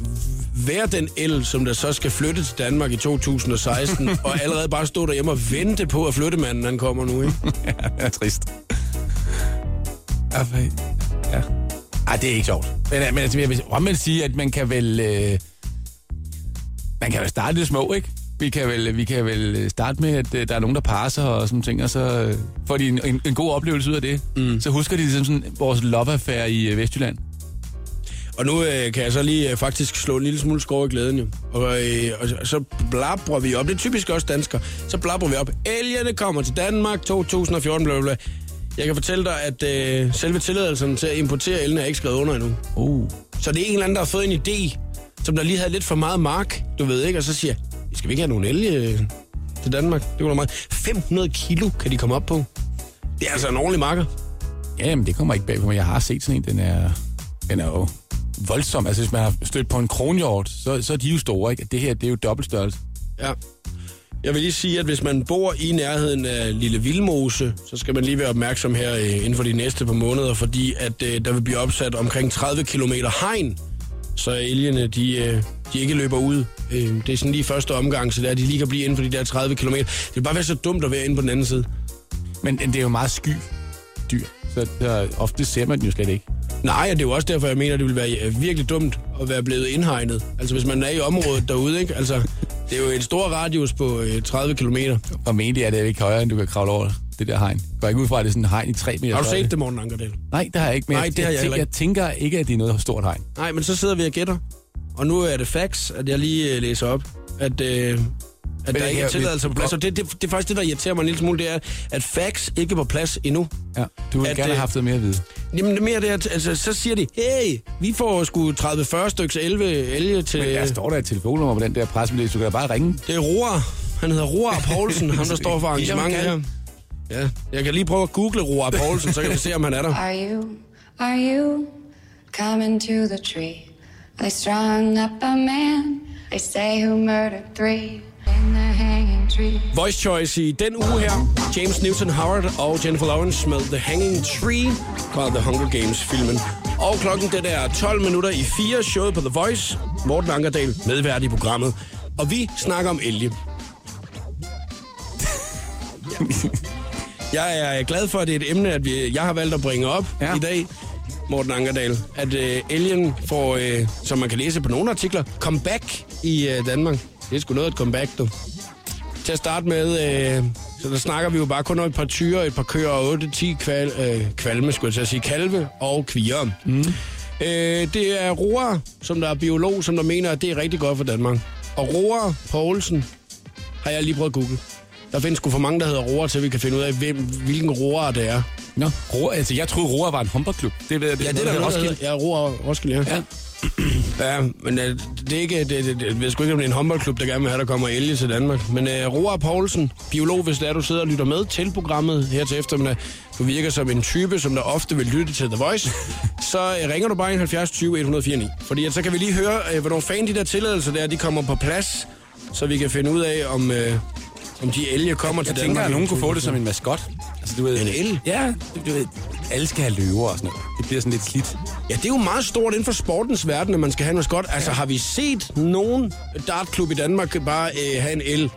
Speaker 1: være den el, som der så skal flytte til Danmark i 2016, og allerede bare stå derhjemme og vente på, at flyttemanden han kommer nu. Ikke?
Speaker 2: er trist. Ja. Ej, det er ikke sjovt. Men, øh, men altså, jeg vil omvendt sige, at man kan vel... Øh, man kan vel starte det små, ikke? Vi kan vel, vi kan vel øh, starte med, at øh, der er nogen, der passer og sådan ting, og så øh, får de en, en, en god oplevelse ud af det. Mm. Så husker de ligesom sådan vores lopaffære i øh, Vestjylland.
Speaker 1: Og nu øh, kan jeg så lige øh, faktisk slå en lille smule skår i glæden jo. Og, øh, og så- så blabrer vi op. Det er typisk også dansker. Så blabrer vi op. Elgerne kommer til Danmark 2014, bla bla bla. Jeg kan fortælle dig, at øh, selve tilladelsen til at importere elgen er ikke skrevet under endnu.
Speaker 2: Uh.
Speaker 1: Så det er en eller anden, der har fået en idé, som der lige havde lidt for meget mark, du ved ikke, og så siger, skal vi ikke have nogle elge øh, til Danmark? Det var da meget. 500 kilo kan de komme op på. Det er altså en ordentlig marker.
Speaker 2: Jamen, det kommer ikke bag på mig. Jeg har set sådan en. Den er, den er jo voldsom. Altså, hvis man har stødt på en kronhjort, så, så er de jo store, ikke? Det her, det er jo dobbelt størrelse.
Speaker 1: Ja. Jeg vil lige sige, at hvis man bor i nærheden af Lille Vildmose, så skal man lige være opmærksom her øh, inden for de næste par måneder, fordi at øh, der vil blive opsat omkring 30 km hegn, så elgene de, øh, de ikke løber ud. Øh, det er sådan lige første omgang, så der, de lige kan blive inden for de der 30 km. Det vil bare være så dumt at være inde på den anden side.
Speaker 2: Men det er jo meget sky dyr, så, så ofte ser man den jo slet ikke.
Speaker 1: Nej, og det er jo også derfor, jeg mener, det ville være øh, virkelig dumt at være blevet indhegnet. Altså hvis man er i området derude, ikke? Altså, det er jo en stor radius på øh, 30 km.
Speaker 2: Og egentlig er det ikke højere, end du kan kravle over det der hegn. Går ikke ud fra, at det er sådan en hegn i 3 meter.
Speaker 1: Har du
Speaker 2: højde.
Speaker 1: set det, Morten Ankerdal?
Speaker 2: Nej, det har jeg ikke. Men
Speaker 1: Nej, det har jeg
Speaker 2: tænker,
Speaker 1: heller
Speaker 2: jeg tænker ikke, at det er noget stort hegn.
Speaker 1: Nej, men så sidder vi og gætter. Og nu er det facts, at jeg lige øh, læser op, at, øh, at der
Speaker 2: det
Speaker 1: ikke er
Speaker 2: her-
Speaker 1: tilladelse på plads. Og det, det, det er faktisk det, der irriterer mig en lille smule, det er, at facts ikke er på plads endnu.
Speaker 2: Ja, du ville
Speaker 1: At,
Speaker 2: gerne
Speaker 1: øh,
Speaker 2: have haft noget mere at vide.
Speaker 1: Jamen det er mere det, at altså, så siger de, hey, vi får sgu 30-40 stykker 11 elge til...
Speaker 2: Men der står der et telefonnummer på den der pressemeddelelse. Du kan da bare ringe.
Speaker 1: Det er Roar. Han hedder Roar Poulsen, ham der står for arrangementet her. Ja, jeg kan lige prøve at google Roar Poulsen, så kan vi se, om han er der.
Speaker 7: Are you, are you coming to the tree? They strung up a man, they say who murdered three in the hanging tree.
Speaker 1: Voice Choice i den uge her. James Newton Howard og Jennifer Lawrence med The Hanging Tree fra The Hunger Games-filmen. Og klokken den er 12 minutter i 4, showet på The Voice. Morten Ankerdal, medvært i programmet. Og vi snakker om elge. Jeg er glad for, at det er et emne, at vi, jeg har valgt at bringe op ja.
Speaker 2: Ja.
Speaker 1: i dag, Morten Ankerdal. At øh, elgen får, øh, som man kan læse på nogle artikler, comeback i øh, Danmark. Det er sgu noget af et comeback, du. Til at starte med, øh, så der snakker vi jo bare kun om et par tyre, et par køer og 8-10 kval, øh, kvalme, skulle jeg til at sige, kalve og kviger. Mm. Øh, det er Roar, som der er biolog, som der mener, at det er rigtig godt for Danmark. Og Roar Poulsen har jeg lige prøvet at google. Der findes sgu for mange, der hedder roer, til vi kan finde ud af, hvem, hvilken roer det er.
Speaker 2: Nå, Roar, altså jeg troede, Roar var en håndboldklub. Det ved jeg, det,
Speaker 1: Roskilde. Ja, roer Roskilde, ja.
Speaker 2: Ja.
Speaker 1: Ja, men øh, det er ikke, det, det, det, jeg ved sgu ikke, om det er en håndboldklub, der gerne vil have, der kommer elge til Danmark. Men øh, Roar Poulsen, biolog, hvis det er, du sidder og lytter med til programmet her til eftermiddag. Du virker som en type, som der ofte vil lytte til The Voice. så øh, ringer du bare ind 70 20 149. Fordi at, så kan vi lige høre, øh, hvornår fanden de der tilladelser der, de kommer på plads. Så vi kan finde ud af, om, øh, om de elge kommer til
Speaker 2: Jeg
Speaker 1: Danmark.
Speaker 2: tænker, at nogen kunne få det som en maskot. Altså, du ved,
Speaker 1: En el?
Speaker 2: Ja, du, du ved, alle skal have løver og sådan noget. Det bliver sådan lidt slidt.
Speaker 1: Ja, det er jo meget stort inden for sportens verden, at man skal have en maskot. Altså, har vi set nogen dartklub i Danmark bare øh, have en el?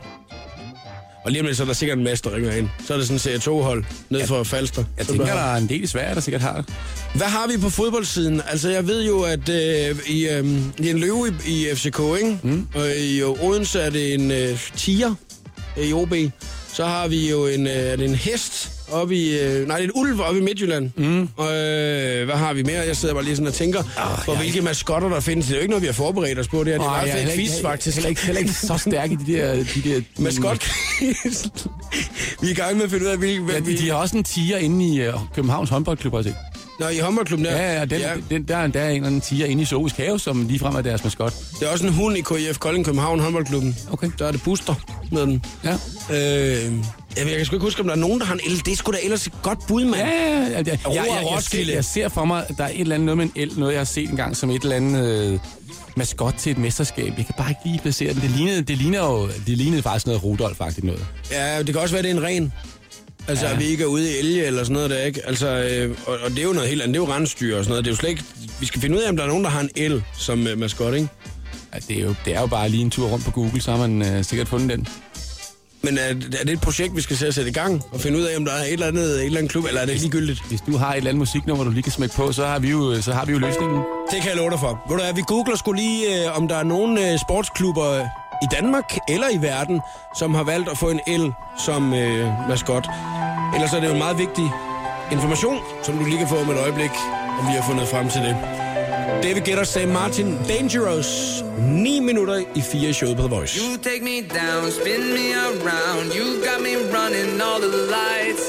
Speaker 1: Og lige om lidt, så er der sikkert en masse, der ringer ind. Så er det sådan en CR2-hold ned for Falster.
Speaker 2: Jeg
Speaker 1: Så
Speaker 2: tænker,
Speaker 1: bare-
Speaker 2: der er en del i Sverige, der sikkert har det.
Speaker 1: Hvad har vi på fodboldsiden? Altså, jeg ved jo, at øh, i, øh, i en løve i, i FCK, ikke? Mm. og i Odense er det en øh, tiger i OB. Så har vi jo en, øh, er det en hest oppe i... Øh, nej, det er en ulv oppe i Midtjylland. Mm. Og øh, hvad har vi mere? Jeg sidder bare lige sådan og tænker, oh, på hvilke maskotter der findes. Det er jo ikke noget, vi har forberedt os på. Det, her. det er
Speaker 2: Ej,
Speaker 1: meget
Speaker 2: jeg
Speaker 1: fedt
Speaker 2: heller ikke-
Speaker 1: quiz, faktisk.
Speaker 2: Heller ikke, heller ikke så stærk i de der... De der
Speaker 1: Maskot Vi er i gang med at finde ud af, hvilke...
Speaker 2: Ja,
Speaker 1: hvem
Speaker 2: de, de, har også en tiger inde i uh, Københavns håndboldklub, har jeg set.
Speaker 1: Nå, i håndboldklubben der.
Speaker 2: Ja, ja, den, ja. Den, der er endda en eller anden tiger inde i Zoologisk Have, som ligefrem er deres maskot.
Speaker 1: Det er også en hund i KIF Kolding København håndboldklubben.
Speaker 2: Okay.
Speaker 1: Der er det Buster med den.
Speaker 2: Ja.
Speaker 1: Øh, jeg, jeg kan sgu ikke huske, om der er nogen, der har en el. Det er sgu da ellers et godt bud, mand.
Speaker 2: Ja, ja, ja. Jeg, jeg,
Speaker 1: Roar
Speaker 2: jeg, jeg, ser,
Speaker 1: Roskilde.
Speaker 2: jeg ser for mig, at der er et eller andet noget med en el, noget jeg har set engang som et eller andet øh, maskot til et mesterskab. Jeg kan bare ikke lige placere den. Det lignede, det ligner jo, det lignede faktisk noget Rudolf faktisk noget.
Speaker 1: Ja, det kan også være, det er en ren. Altså, ja. at vi ikke er ude i elge eller sådan noget der, ikke? Altså, øh, og, og, det er jo noget helt andet. Det er jo rensdyr og sådan noget. Det er jo slet ikke... Vi skal finde ud af, om der er nogen, der har en el som øh, maskot, ikke?
Speaker 2: Ja, Altså, det, er jo, det er jo bare lige en tur rundt på Google, så har man øh, sikkert fundet den.
Speaker 1: Men er, er, det et projekt, vi skal se at sætte i gang og finde ud af, om der er et eller andet, et eller andet klub, eller er det ligegyldigt?
Speaker 2: Hvis du har et eller andet musiknummer, du lige kan smække på, så har vi jo, øh, så har vi jo løsningen.
Speaker 1: Det kan jeg love dig for. Ved du hvad, vi googler skulle lige, øh, om der er nogen øh, sportsklubber øh, i Danmark eller i verden, som har valgt at få en el som øh, maskot. Ellers er det jo en meget vigtig information, som du lige kan få om et øjeblik, om vi har fundet frem til det. David Guetta sagde Martin Dangerous. 9 minutter i 4 showet på The Voice.
Speaker 8: You take me down, spin me around. You got me running all the lights.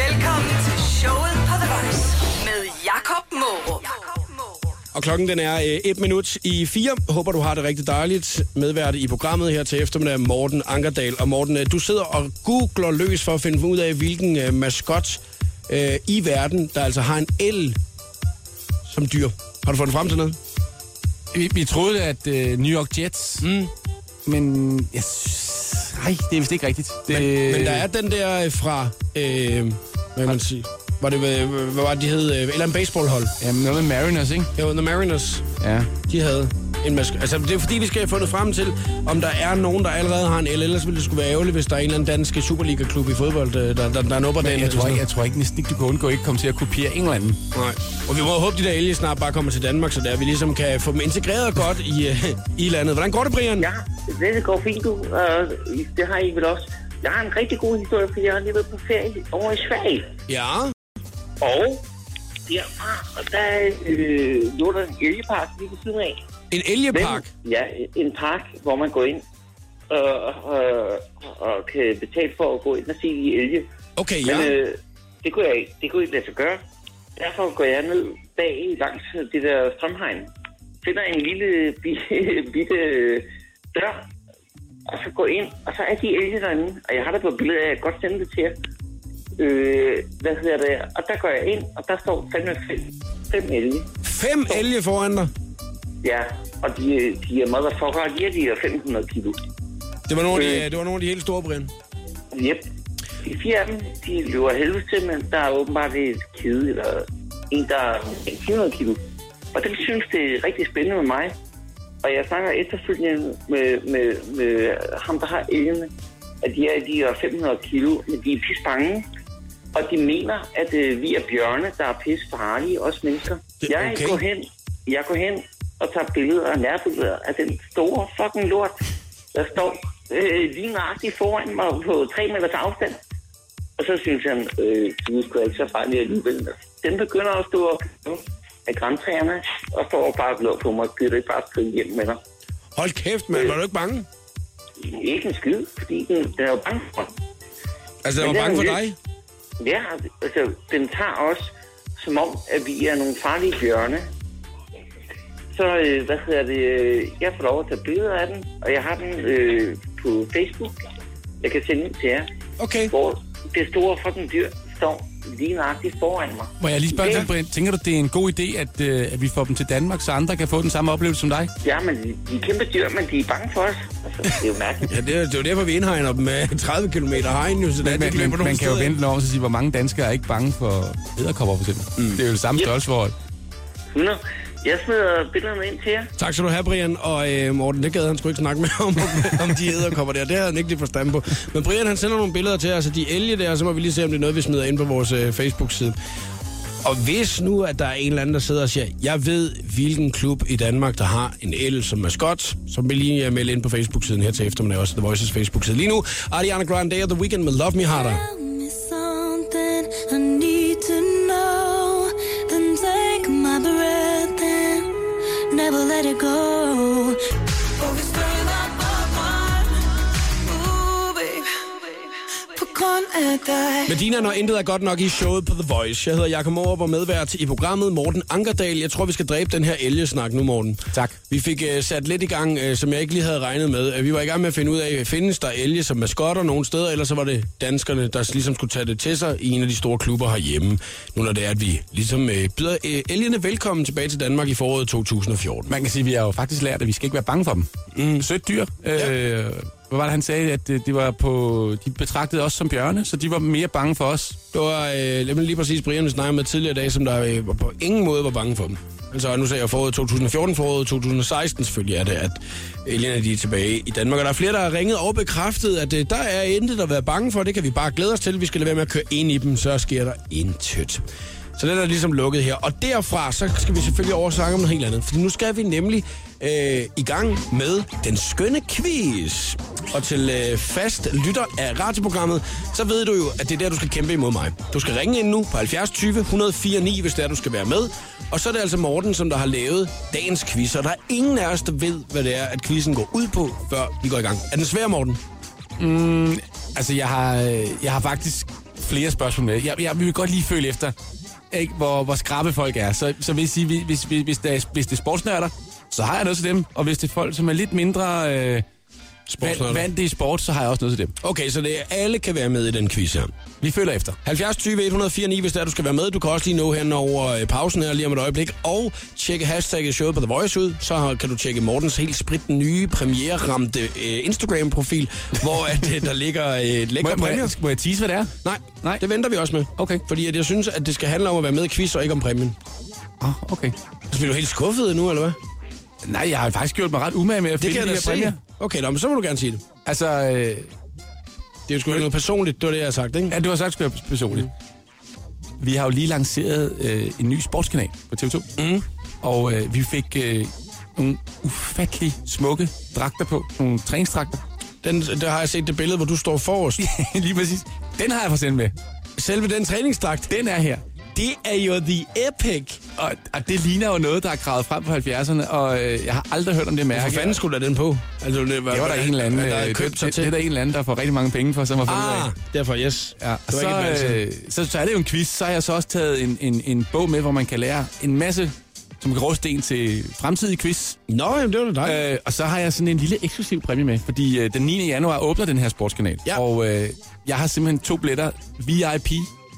Speaker 3: Velkommen til showet på The Voice med Jakob Morup.
Speaker 1: Og klokken den er øh, et minut i fire. Håber, du har det rigtig dejligt. Medvært i programmet her til eftermiddag, Morten Ankerdal. Og Morten, øh, du sidder og googler løs for at finde ud af, hvilken øh, maskot øh, i verden, der altså har en el som dyr. Har du fundet frem til noget?
Speaker 2: Vi, vi troede, at øh, New York Jets... Mm. Men jeg synes... Ej, det er vist ikke rigtigt. Det,
Speaker 1: Men, men der er den der øh, fra, øh, hvad kan man sige, var det, øh, hvad var det, de hed? Øh, Et eller andet baseballhold.
Speaker 2: Jamen, noget med Mariners, ikke?
Speaker 1: Jo, The Mariners,
Speaker 2: Ja.
Speaker 1: de havde en maske. Altså, det er fordi, vi skal have fundet frem til, om der er nogen, der allerede har en L. Ellers ville det skulle være ærgerligt, hvis der er en eller anden dansk Superliga-klub i fodbold, øh, der, der, der nupper den.
Speaker 2: Men jeg tror, ikke, jeg tror ikke, næsten ikke, du kan undgå ikke komme til at kopiere England.
Speaker 1: Nej. Og vi må håbe, de der elge snart bare kommer til Danmark, så der vi ligesom kan få dem integreret godt i, øh, i landet. Hvordan går det, Brian?
Speaker 9: Ja, det er går fint, du. Og det har I vel også. Jeg har en rigtig god historie, fordi jeg har lige været på ferie over i Sverige.
Speaker 1: Ja.
Speaker 9: Og derfra, og der øh, lå der en elgepark lige ved siden af.
Speaker 1: En elgepark.
Speaker 9: Den- Ja, en park, hvor man går ind og, og, og kan betale for at gå ind og se de elge.
Speaker 1: Okay,
Speaker 9: Men
Speaker 1: ja.
Speaker 9: øh, det kunne jeg ikke, det kunne jeg ikke lade sig gøre. Derfor går jeg ned bag langs det der strømhegn. Finder en lille bi- bitte øh, dør, og så går ind, og så er de elge derinde. Og jeg har det på billedet, jeg kan godt sende det til jer. Øh, hvad hedder det? Og der går jeg ind, og der står fandme fem, fem elge.
Speaker 1: Fem elge foran dig.
Speaker 9: Ja, og de, de er motherfucker, og de er de her 500 kilo.
Speaker 1: Det var nogle af de, øh, det var nogle af de helt store, Brian.
Speaker 9: Yep. De fire af dem, de løber helvede til, men der er åbenbart et kede, eller en, der er omkring 400 kilo. Og den synes, det er rigtig spændende med mig. Og jeg snakker efterfølgende med, med, med ham, der har elgene, at de er, de er 500 kilo, men de er pisse bange. Og de mener, at øh, vi er bjørne, der er pisse farlige, også mennesker.
Speaker 1: Det-
Speaker 9: Jeg
Speaker 1: okay.
Speaker 9: går hen, jeg går hen og tager billeder og nærbilleder af den store fucking lort, der står øh, lige nøjagtigt foran mig på 3 meters afstand. Og så synes han, øh, du er sgu ikke så farlig alligevel. Den begynder at stå op af græntræerne og står og bare og glor på mig. Gider du ikke bare skrive hjem med dig?
Speaker 1: Hold kæft, mand. Var du ikke bange?
Speaker 9: Ikke en skid, fordi den, den er jo bange for mig.
Speaker 1: Altså, jeg
Speaker 9: Men
Speaker 1: var
Speaker 9: det er
Speaker 1: bange for
Speaker 9: jo
Speaker 1: dig.
Speaker 9: Ja, altså, den tager os, som om, at vi er nogle farlige bjørne. Så, øh, hvad hedder det, øh, jeg får lov at tage billeder af den, og jeg har den øh, på Facebook. Jeg kan sende den til jer,
Speaker 1: Okay.
Speaker 9: hvor det store fucking dyr står lige nøjagtigt foran mig.
Speaker 2: Må jeg lige spørge
Speaker 9: Ja.
Speaker 2: dig, Brian, tænker du, det er en god idé, at, øh, at vi får dem til Danmark, så andre kan få den samme oplevelse som dig?
Speaker 9: Ja, men de, de er kæmpe dyr, men de er bange for os. Altså, det er jo mærkeligt.
Speaker 1: Ja, det er, det er jo derfor, vi indhegner dem med 30 km hegn, jo, så det er,
Speaker 2: Men,
Speaker 1: de ikke
Speaker 2: men,
Speaker 1: løber
Speaker 2: men
Speaker 1: nogen
Speaker 2: man kan jo
Speaker 1: steder.
Speaker 2: vente den om og så sige, hvor mange danskere er ikke bange for æderkopper, for eksempel. Mm. Det er jo det samme
Speaker 9: Yep.
Speaker 2: størrelsesforhold.
Speaker 9: 100. Jeg smider billederne ind til jer.
Speaker 1: Tak skal du have, Brian. Og øh, Morten, det gad han sgu ikke snakke med om, om de æderkopper der. Det havde han ikke lige forstand på. Men Brian, han sender nogle billeder til os af de elge der, og så må vi lige se, om det er noget, vi smider ind på vores øh, Facebook-side. Og hvis nu, at der er en eller anden, der sidder og siger, jeg ved, hvilken klub i Danmark, der har en el som maskot, som vil lige øh, melde ind på Facebook-siden her til eftermiddag, også The Voices Facebook-side. Lige nu, Ariana Grande og The Weeknd med Love Me Harder. Medina, når intet er godt nok i showet på The Voice. Jeg hedder Jakob Morup og medvært i programmet Morten Ankerdal. Jeg tror, vi skal dræbe den her elgesnak nu, Morten.
Speaker 2: Tak.
Speaker 1: Vi fik øh, sat lidt i gang, øh, som jeg ikke lige havde regnet med. Øh, Vi var i gang med at finde ud af, findes der elge som maskotter nogle steder, eller så var det danskerne, der ligesom skulle tage det til sig i en af de store klubber herhjemme. Nu når det er, at vi ligesom øh, byder øh, elgene velkommen tilbage til Danmark i foråret 2014.
Speaker 2: Man kan sige, at vi har jo faktisk lært, at vi skal ikke være bange for dem. Mm. Sødt dyr. Ja. Øh, hvad var det, han sagde? At øh, det var på, de betragtede os som bjørne, så de var mere bange for os.
Speaker 1: Det var øh, nemlig lige præcis Brian, vi snakkede med tidligere i dag, som der øh, på ingen måde var bange for dem. Altså, nu sagde jeg foråret 2014, foråret 2016 selvfølgelig er det, at Elena de er tilbage i Danmark. Og der er flere, der har ringet og bekræftet, at øh, der er intet at være bange for. Det kan vi bare glæde os til. Vi skal lade være med at køre ind i dem, så sker der intet. Så den er ligesom lukket her. Og derfra, så skal vi selvfølgelig over og snakke om noget helt andet. For nu skal vi nemlig øh, i gang med den skønne quiz. Og til øh, fast lytter af radioprogrammet, så ved du jo, at det er der, du skal kæmpe imod mig. Du skal ringe ind nu på 70 20 104 9, hvis det er, du skal være med. Og så er det altså Morten, som der har lavet dagens quiz. Og der er ingen af os, der ved, hvad det er, at quizzen går ud på, før vi går i gang. Er den svær, Morten?
Speaker 2: Altså, jeg har, øh, jeg har faktisk flere spørgsmål med. Jeg, jeg vil godt lige føle efter, ikke, hvor, hvor skrabe folk er. Så, så vil jeg sige, hvis, hvis, hvis, hvis, der, er- hvis det er sportsnørder, så har jeg noget til dem. Og hvis det er folk, som er lidt mindre øh, vand,
Speaker 1: Sportsnørder.
Speaker 2: vand i sport, så har jeg også noget til dem.
Speaker 1: Okay, så det er, alle kan være med i den quiz her.
Speaker 2: Vi følger efter.
Speaker 1: 70 20 104 9, hvis der du skal være med. Du kan også lige nå hen over øh, pausen her lige om et øjeblik. Og tjekke hashtagget showet på The Voice ud. Så har- kan du tjekke Mortens helt sprit nye premiere-ramte øh, Instagram-profil, hvor at, øh, der ligger øh, et
Speaker 2: Må
Speaker 1: lækker
Speaker 2: jeg, må,
Speaker 1: præmie.
Speaker 2: jeg, må jeg tease, hvad det er?
Speaker 1: Nej,
Speaker 2: Nej.
Speaker 1: Nej, det venter vi også med.
Speaker 2: Okay.
Speaker 1: Fordi at jeg synes, at det skal handle om at være med i quiz og ikke om præmien. Ah,
Speaker 2: Oh, okay.
Speaker 1: Så bliver du helt skuffet nu, eller hvad?
Speaker 2: Nej, jeg har faktisk gjort mig ret umage med at
Speaker 1: Det
Speaker 2: finde
Speaker 1: kan jeg
Speaker 2: de
Speaker 1: da
Speaker 2: her
Speaker 1: se.
Speaker 2: præmier.
Speaker 1: Okay, nå, men så må du gerne sige det.
Speaker 2: Altså, øh,
Speaker 1: Det er jo sgu ikke noget personligt, det var det, jeg har sagt, ikke?
Speaker 2: ja, du har sagt, at personligt.
Speaker 1: Mm.
Speaker 2: Vi har jo lige lanceret øh, en ny sportskanal på TV2. Mm. Og øh, vi fik øh, nogle ufattelig smukke dragter på. Nogle træningsdragter.
Speaker 1: Den, der har jeg set det billede, hvor du står forrest.
Speaker 2: lige præcis. Den har jeg fået sendt med.
Speaker 1: Selve den træningsdragt,
Speaker 2: Den er her.
Speaker 1: det er jo the epic.
Speaker 2: Og, og det ligner jo noget, der er gravet frem på 70'erne, og øh, jeg har aldrig hørt om det mærke.
Speaker 1: Hvor fanden skulle der den på? Altså, det var,
Speaker 2: Det var der en eller anden,
Speaker 1: der havde
Speaker 2: øh,
Speaker 1: købt
Speaker 2: det,
Speaker 1: sig
Speaker 2: det,
Speaker 1: til.
Speaker 2: det, er der en eller anden, der får rigtig mange penge for, som har fundet ud af.
Speaker 1: ah, derfor, yes.
Speaker 2: Ja,
Speaker 1: det var ikke et
Speaker 2: så,
Speaker 1: valg.
Speaker 2: øh, så, så er det jo en quiz. Så har jeg så også taget en, en, en bog med, hvor man kan lære en masse, som kan ruste en til fremtidige quiz.
Speaker 1: Nå, jamen, det var da dig. Øh,
Speaker 2: Øh, og så har jeg sådan en lille eksklusiv præmie med, fordi øh, den 9. januar åbner den her sportskanal.
Speaker 1: Ja.
Speaker 2: Og øh, jeg har simpelthen to billetter VIP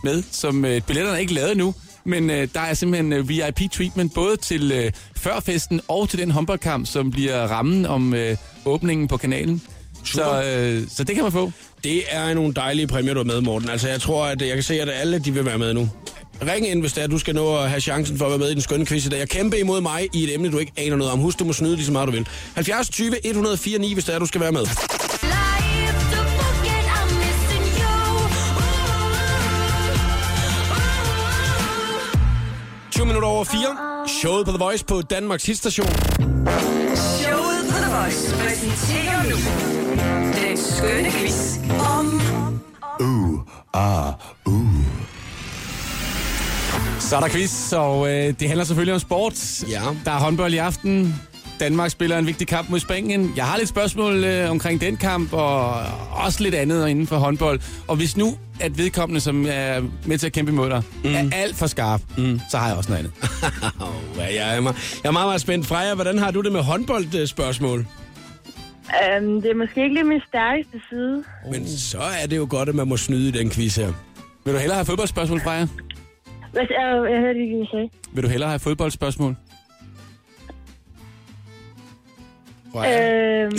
Speaker 2: med, som øh, billetterne er ikke lavet nu. Men øh, der er simpelthen øh, VIP-treatment både til øh, førfesten og til den håndboldkamp, som bliver rammen om øh, åbningen på kanalen. Så, øh, så det kan man få.
Speaker 1: det er nogle dejlige præmier, du har med, Morten. Altså, jeg tror, at jeg kan se, at alle de vil være med nu. Ring ind, hvis det er, at du skal nå at have chancen for at være med i den skønne quiz i dag. Jeg kæmper imod mig i et emne, du ikke aner noget om. Husk, du må snyde lige så meget, du vil. 70 20 104 9, hvis det er, du skal være med.
Speaker 10: Life,
Speaker 1: 20 minutter over 4. Showet på The Voice på Danmarks hitstation.
Speaker 3: Showet på The Voice præsenterer nu den skønne quiz om
Speaker 2: Så er der quiz, og øh, det handler selvfølgelig om sport.
Speaker 1: Ja.
Speaker 2: Der er håndbold i aften. Danmark spiller en vigtig kamp mod Spanien. Jeg har lidt spørgsmål øh, omkring den kamp, og også lidt andet inden for håndbold. Og hvis nu, at vedkommende, som er med til at kæmpe imod dig, mm. er alt for skarp, mm. så har jeg også noget andet.
Speaker 1: Oh, ja, jeg, er meget, jeg er meget, meget spændt. Freja, hvordan har du det med håndboldspørgsmål?
Speaker 11: Um, det er måske ikke lige min stærkeste side.
Speaker 1: Men så er det jo godt, at man må snyde i den quiz her.
Speaker 2: Vil du hellere have fodboldspørgsmål, Freja?
Speaker 11: Hvad, uh, jeg hørte ikke, hvad I sagde.
Speaker 2: Vil du hellere have fodboldspørgsmål?
Speaker 1: Freja.
Speaker 11: Øhm,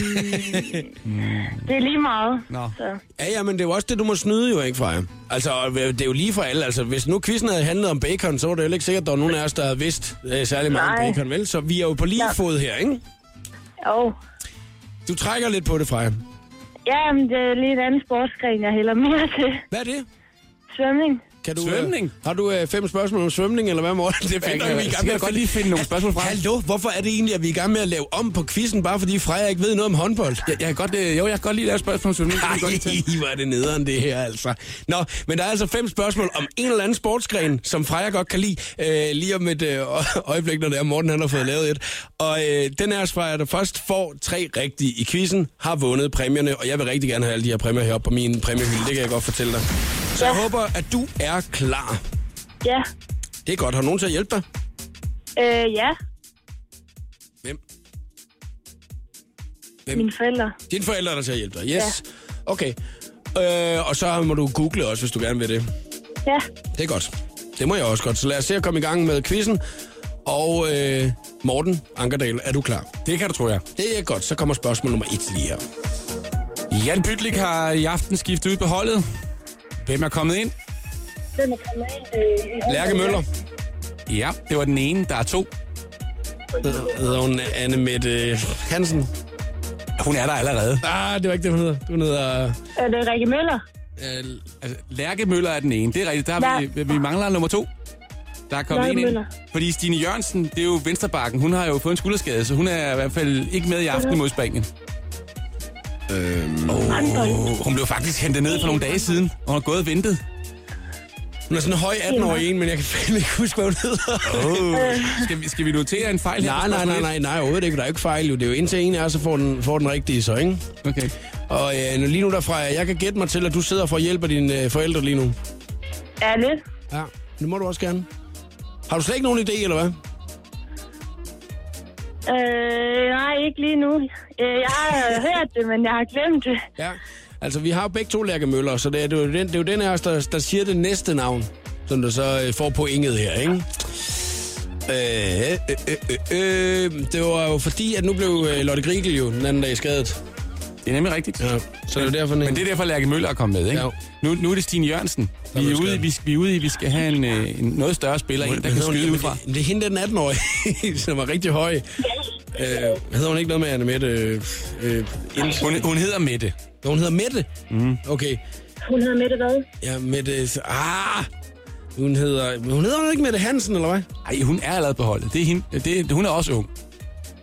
Speaker 11: det er lige meget.
Speaker 2: Nå.
Speaker 11: Så.
Speaker 1: Ja, ja, men det er jo også det, du må snyde jo, ikke Freja? Altså, og det er jo lige for alle. Altså, hvis nu quizzen havde handlet om bacon, så var det jo ikke sikkert, at der var nogen af os, der havde vidst øh, særlig meget om
Speaker 11: Nej.
Speaker 1: bacon, vel? Så vi er jo på lige
Speaker 11: Ja.
Speaker 1: fod her, ikke?
Speaker 11: Jo.
Speaker 1: Du trækker lidt på det, Freja.
Speaker 11: Ja, men det er lige en anden sportsgren, jeg hælder mere til.
Speaker 1: Hvad er det?
Speaker 11: Svømning.
Speaker 1: Kan du,
Speaker 2: Svømning?
Speaker 1: Øh, har du øh, fem spørgsmål om svømning, eller hvad, Morten? Det
Speaker 2: Jeg,
Speaker 1: finder
Speaker 2: jeg,
Speaker 1: vi i
Speaker 2: jeg,
Speaker 1: gang med
Speaker 2: jeg kan
Speaker 1: at
Speaker 2: godt lige finde nogle spørgsmål fra.
Speaker 1: Hallo, hvorfor er det egentlig, at vi er i gang med at lave om på quizzen, bare fordi Freja ikke ved noget om håndbold?
Speaker 2: Jeg, jeg kan godt, øh, jo, jeg kan godt lige lave spørgsmål om svømning. Det kan
Speaker 1: Ej,
Speaker 2: vi godt lige tage.
Speaker 1: hvor er det nederen det her, altså. Nå, men der er altså fem spørgsmål om en eller anden sportsgren, som Freja godt kan lide, øh, lige om et øh, øjeblik, når det er Morten, han har fået lavet et. Og øh, den her Freja, der først får tre rigtige i quizzen, har vundet præmierne, og jeg vil rigtig gerne have alle de her præmier heroppe på min præmiehylde, det kan jeg godt fortælle dig. Så jeg
Speaker 11: Ja.
Speaker 1: håber, at du er klar.
Speaker 11: Ja.
Speaker 1: Det er godt. Har nogen til at hjælpe dig?
Speaker 11: Øh, ja.
Speaker 1: Hvem? Hvem?
Speaker 11: Mine forældre.
Speaker 1: Dine forældre, der til at hjælpe dig. Yes. Okay. Øh, og så må du google også, hvis du gerne vil det.
Speaker 11: Ja.
Speaker 1: Det er godt. Det må jeg også godt. Så lad os se at komme i gang med quizzen. Og øh, Morten Ankerdal, er du klar?
Speaker 2: Det kan du, tror jeg.
Speaker 1: Det er godt. Så kommer spørgsmål nummer et lige her.
Speaker 2: Jan Pytlik har i aften skiftet ud på holdet. Hvem er kommet ind?
Speaker 11: Den er kommet ind. Øh,
Speaker 1: Lærke Møller.
Speaker 2: Ja, det var den ene. Der er to.
Speaker 1: Hed- Hedder hun Anne Mette Hansen?
Speaker 2: Hun er der allerede.
Speaker 1: Ah, det var ikke det, hun hedder. Hun hedder...
Speaker 11: Er det Rikke Møller?
Speaker 1: Øh,
Speaker 2: Altså, Lærke Møller er den ene. Det er rigtigt. Der har vi, vi mangler nummer to. Der er kommet
Speaker 11: Lærke
Speaker 2: en ind.
Speaker 11: Møller.
Speaker 2: Fordi Stine Jørgensen, det er jo Vensterbakken. Hun har jo fået en skulderskade, så hun er i hvert fald ikke med i aften mod Spanien.
Speaker 1: Øhm.
Speaker 11: Håndbold.
Speaker 2: Oh, hun blev faktisk hentet ned for nogle dage siden. og Hun har gået og ventet.
Speaker 1: hun er sådan en høj 18-årig en, men jeg kan fandme ikke huske, hvad hun hedder.
Speaker 2: Oh. Skal, vi, skal vi notere en fejl her?
Speaker 1: Nej,
Speaker 2: på
Speaker 1: nej, nej,
Speaker 2: spørgsmål
Speaker 1: nej, nej, overhovedet ikke. Der er jo ikke fejl, jo. Det er jo indtil en af os, så får den, får den rigtige, så, ikke?
Speaker 2: et? Okay.
Speaker 1: Og øh, nu- lige nu derfra, jeg kan gætte mig til, at du sidder for at hjælpe dine øh, forældre lige nu.
Speaker 11: Ja, lidt.
Speaker 1: Ja, det må du også gerne. Har du slet ikke nogen idé, eller hvad?
Speaker 11: Øh, nej, ikke lige nu. Øh, jeg har øh, hørt det, men jeg har glemt det.
Speaker 1: Ja. Altså, vi har jo begge to lærkemøller, så det er, det er, jo, den, det er jo den af os, der, der siger det næste navn, som du så øh, får pointet her, ikke? Øh, øh, øh, øh, øh, det var jo fordi, at nu blev øh, Lotte Grigel jo den anden dag skadet.
Speaker 2: Det er nemlig rigtigt.
Speaker 1: Ja, så det er jo derfor, den
Speaker 2: Men det er derfor, Lærke Møller er kommet med, ikke?
Speaker 1: Ja.
Speaker 2: Nu, nu er det Stine Jørgensen.
Speaker 1: er
Speaker 2: Vi er,
Speaker 1: vi
Speaker 2: ude,
Speaker 1: skadet.
Speaker 2: vi, skal- vi er ude i, vi skal have en, øh, en noget større spiller, en, der kan skyde ud fra.
Speaker 1: Det, det er hende, der er den 18-årige, som er rigtig høj. Øh, hedder hun ikke noget med Anne Mette? Øh, øh, Jensen?
Speaker 2: Hun, hun hedder Mette.
Speaker 1: Nå, hun hedder Mette?
Speaker 2: Mhm.
Speaker 1: Mm. Okay.
Speaker 11: Hun hedder Mette hvad?
Speaker 1: Ja, Mette... Ah! Hun hedder... men Hun hedder jo ikke Mette Hansen, eller hvad?
Speaker 2: Ej, hun er allerede på holdet. Det er hende, det, hun er også ung.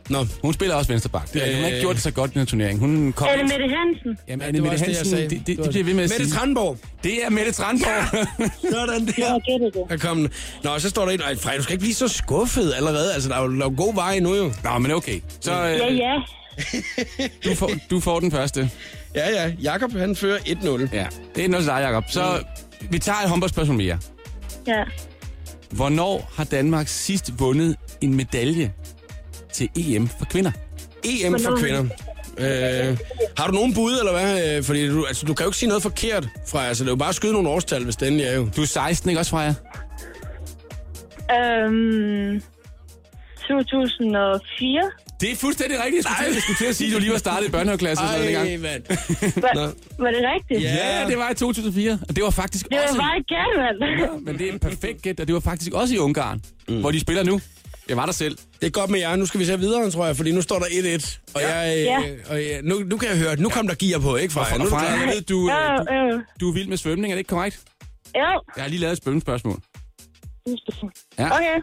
Speaker 1: Nå,
Speaker 2: Hun spiller også venstreback. Det, er rigtigt. hun har ikke
Speaker 1: Øh.
Speaker 2: gjort det så godt i den her turnering. Hun kom...
Speaker 11: Er det Mette Hansen?
Speaker 2: Jamen,
Speaker 1: Ja,
Speaker 2: Anne
Speaker 1: det var
Speaker 2: Mette
Speaker 1: også det, jeg
Speaker 2: Hansen,
Speaker 1: sagde.
Speaker 2: det, det,
Speaker 1: Det var-
Speaker 2: det bliver ved med at
Speaker 1: Mette
Speaker 2: sige.
Speaker 1: Tranborg.
Speaker 2: Det er Mette Tranborg.
Speaker 1: Sådan
Speaker 11: Jeg
Speaker 1: der.
Speaker 11: har gættet det.
Speaker 1: Er kommet. Nå, så står der et... Ej, Frej, du skal ikke blive så skuffet allerede. Altså, der er jo, der er jo god vej endnu, jo.
Speaker 2: Nå, men okay. Så øh,
Speaker 11: Ja, ja.
Speaker 2: Du, får, du får den første.
Speaker 1: Ja, ja. Jakob, han fører 1-0.
Speaker 2: Ja. Det er noget til dig, Jacob. Så vi tager et håndboldspørgsmål mere.
Speaker 11: Mm. ja.
Speaker 2: Hvornår har Danmark sidst vundet en medalje til EM for kvinder?
Speaker 1: EM E for kvinder. Øh, har du nogen bud, eller hvad? Øh, Fordi du, altså, du kan jo ikke sige noget forkert, fra altså, det er jo bare at skyde nogle årstal, hvis den er jo.
Speaker 2: Du er 16, ikke også, Freja?
Speaker 11: Øhm, 2004.
Speaker 2: Det er fuldstændig rigtigt. Jeg skulle, til, jeg skulle til at sige, at du lige var startet i børnehaveklasse. og sådan noget dengang.
Speaker 1: mand.
Speaker 11: Var,
Speaker 1: Nå.
Speaker 11: var det rigtigt?
Speaker 1: Ja.
Speaker 2: Ja, det var i 2004. Og det var faktisk
Speaker 11: Det var
Speaker 2: også...
Speaker 11: bare et gæt, mand.
Speaker 2: Men det er en perfekt gæt, og det var faktisk også i Ungarn, mm. hvor de spiller nu. Jeg var der selv.
Speaker 1: Det er godt med jer. Nu skal vi se videre, tror jeg, fordi nu står der 1-1. Og, ja. jeg, øh,
Speaker 11: Ja.
Speaker 1: og jeg, nu, nu kan jeg høre, at nu kom der gear på, ikke, Freja?
Speaker 2: Og
Speaker 1: Nu er du
Speaker 2: Freja,
Speaker 1: klar.
Speaker 2: jeg ved, du,
Speaker 11: Jo,
Speaker 2: øh, du,
Speaker 11: jo.
Speaker 2: du er vild med svømning, er det ikke korrekt?
Speaker 11: Jo.
Speaker 2: Jeg har lige lavet et svømmespørgsmål. Ja.
Speaker 11: Okay.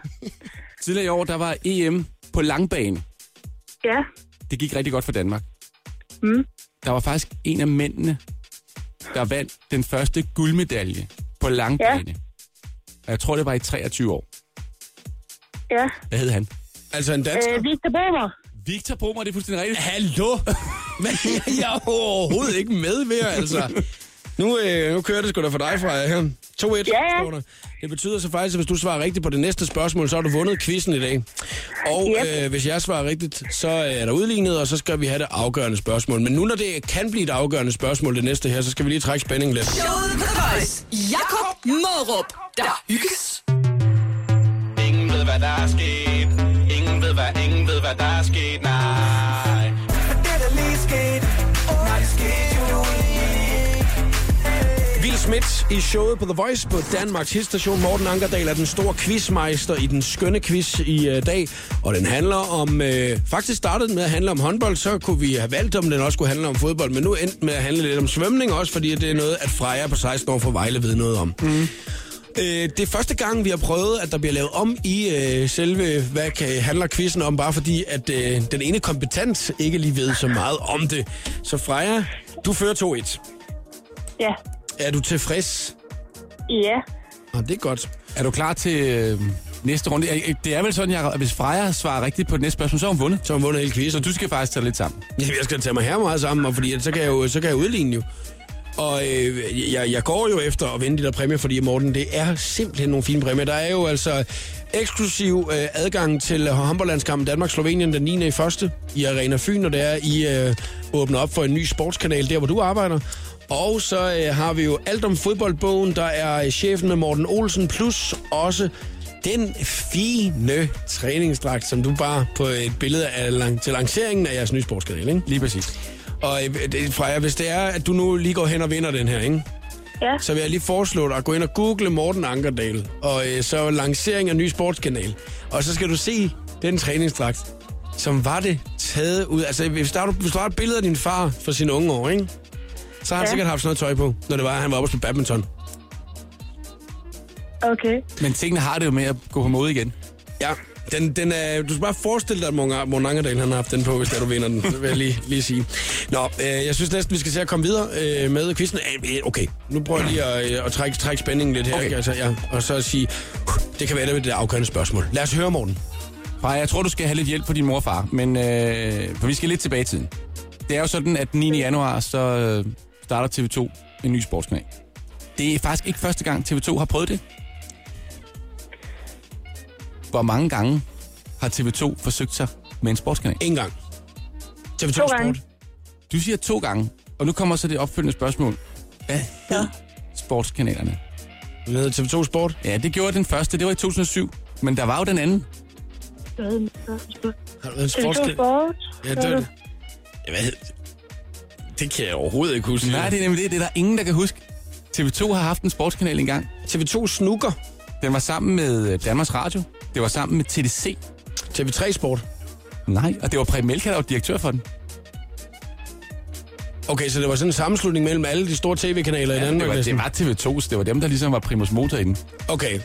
Speaker 2: Tidligere i år, der var EM på langbane.
Speaker 11: Ja.
Speaker 2: det gik rigtig godt for Danmark. Mm. Der var faktisk en af mændene, der vandt den første guldmedalje på langbane. Ja. Og jeg tror, det var i 23 år.
Speaker 11: Ja.
Speaker 2: Hvad hed han?
Speaker 1: Altså en dansker.
Speaker 11: Øh, Victor Bomer.
Speaker 2: Victor Bomer, det er fuldstændig rigtigt.
Speaker 1: Hallo? Hvad er jeg overhovedet ikke med ved, altså? Nu, øh, nu kører det sgu da for dig, Freja. her. 2-1,
Speaker 11: Ja.
Speaker 1: står der. Det betyder så faktisk, at hvis du svarer rigtigt på det næste spørgsmål, så har du vundet quizzen i dag. Og
Speaker 11: Yep.
Speaker 1: øh, hvis jeg svarer rigtigt, så er der udlignet, og så skal vi have det afgørende spørgsmål. Men nu, når det kan blive et afgørende spørgsmål, det næste her, så skal vi lige trække spændingen lidt.
Speaker 3: Showet på The Voice. Jakob Mørup. Der hygges.
Speaker 5: Ingen ved, hvad der er sket. Ingen ved, hvad, ingen ved, hvad der er sket. Nej.
Speaker 6: Det er lige sket. Nej, det skete jo
Speaker 1: Will Smith i showet på The Voice på Danmarks hitstation. Morten Ankerdal er den store quizmeister i den skønne quiz i øh, dag. Og den handler om... Øh, faktisk startede den med at handle om håndbold, så kunne vi have valgt, om den også kunne handle om fodbold. Men nu endte den med at handle lidt om svømning også, fordi det er noget, at Freja på 16 år fra Vejle ved noget om. Mm. Øh, det er første gang, vi har prøvet, at der bliver lavet om i øh, selve, hvad kan, handler quizzen om, bare fordi, at øh, den ene kompetent ikke lige ved så meget om det. Så Freja, du fører 2-1.
Speaker 11: Ja.
Speaker 1: Er du tilfreds?
Speaker 11: Ja.
Speaker 1: Ah, det er godt.
Speaker 2: Er du klar til øh, næste runde? Øh, øh, Det er vel sådan, Jacob, at hvis Freja svarer rigtigt på det næste spørgsmål, så har hun vundet.
Speaker 1: Så har hun vundet hele
Speaker 2: Så
Speaker 1: quizzen.
Speaker 2: du skal faktisk tage det lidt sammen.
Speaker 1: Jamen, jeg skal tage mig her meget sammen, og fordi at så kan jeg jo så kan jeg udligne jo. Og øh, jeg, jeg går jo efter at vinde de der præmier, fordi Morten, det er simpelthen nogle fine præmier. Der er jo altså eksklusiv øh, adgang til håndboldlandskampen Danmark-Slovenien den 9. i første i Arena Fyn, og det er I øh, åbner op for en ny sportskanal der, hvor du arbejder. Og så øh, har vi jo alt om fodboldbogen, der er øh, chefen med Morten Olsen, plus også den fine træningsdragt, som du bare på et billede af lang- til lanceringen af jeres nye sportskanal, ikke?
Speaker 2: Lige præcis.
Speaker 1: Og øh, det- Freja, hvis det er, at du nu lige går hen og vinder den her, ikke?
Speaker 11: Ja.
Speaker 1: så vil jeg lige foreslå dig at gå ind og google Morten Ankerdal, og øh, så lancering af ny sportskanal. Og så skal du se den træningsdragt, som var det taget ud. Altså, hvis der, er du- hvis der var et billede af din far fra sine unge år, ikke? så har han ja.
Speaker 11: Ja.
Speaker 1: sikkert haft sådan noget tøj på, når det var, at han var oppe og spille badminton.
Speaker 11: Okay.
Speaker 2: Men tingene har det jo med at gå på mode igen.
Speaker 1: Ja, den, den er, du skal bare forestille dig, at Morten Morten Ankerdal han har haft den på, hvis det er, du vinder den. Det vil jeg lige, lige sige. Nå, øh, jeg synes næsten, vi skal se at komme videre øh, med quizzen. Øh, øh, Okay, nu prøver jeg lige at, øh, at trække, trække spændingen lidt her. Okay. Altså, ja, og så sige, uh, det kan være det, er det afgørende spørgsmål. Lad os høre, Morten.
Speaker 2: Freja, jeg tror, du skal have lidt hjælp fra din mor og far, men, øh, for vi skal lidt tilbage i tiden. Det er jo sådan, at den 9. januar, så øh, starter TV2 en ny sportskanal. Det er faktisk ikke første gang, TV2 har prøvet det. Hvor mange gange har TV2 forsøgt sig med en sportskanal?
Speaker 1: En gang. TV2
Speaker 11: To
Speaker 1: Sport.
Speaker 11: gange.
Speaker 2: Du siger to gange. Og nu kommer så det opfølgende spørgsmål. Hvad hed ja. sportskanalerne?
Speaker 1: Hvad hedder TV2 Sport?
Speaker 2: Ja, det gjorde den første. Det var i 2007. Men der var jo den anden.
Speaker 1: Har du været en
Speaker 11: TV2
Speaker 1: sportskanal?
Speaker 11: Sport.
Speaker 1: Ja, det var det. Ja, hvad hed det? kan jeg overhovedet ikke huske.
Speaker 2: Nej, det er nemlig det. Det er der ingen, der kan huske. TV2 har haft en sportskanal engang.
Speaker 1: TV2 Snooker.
Speaker 2: Den var sammen med øh, Danmarks Radio. Det var sammen med TDC.
Speaker 1: TV3 Sport.
Speaker 2: Nej, og det var Preben Melka, der var direktør for den.
Speaker 1: Okay, så det var sådan en sammenslutning mellem alle de store tv-kanaler i Danmark.
Speaker 2: det, var, det
Speaker 1: næsten.
Speaker 2: var TV2's. Det var dem, der ligesom var primus motor i den.
Speaker 1: Okay.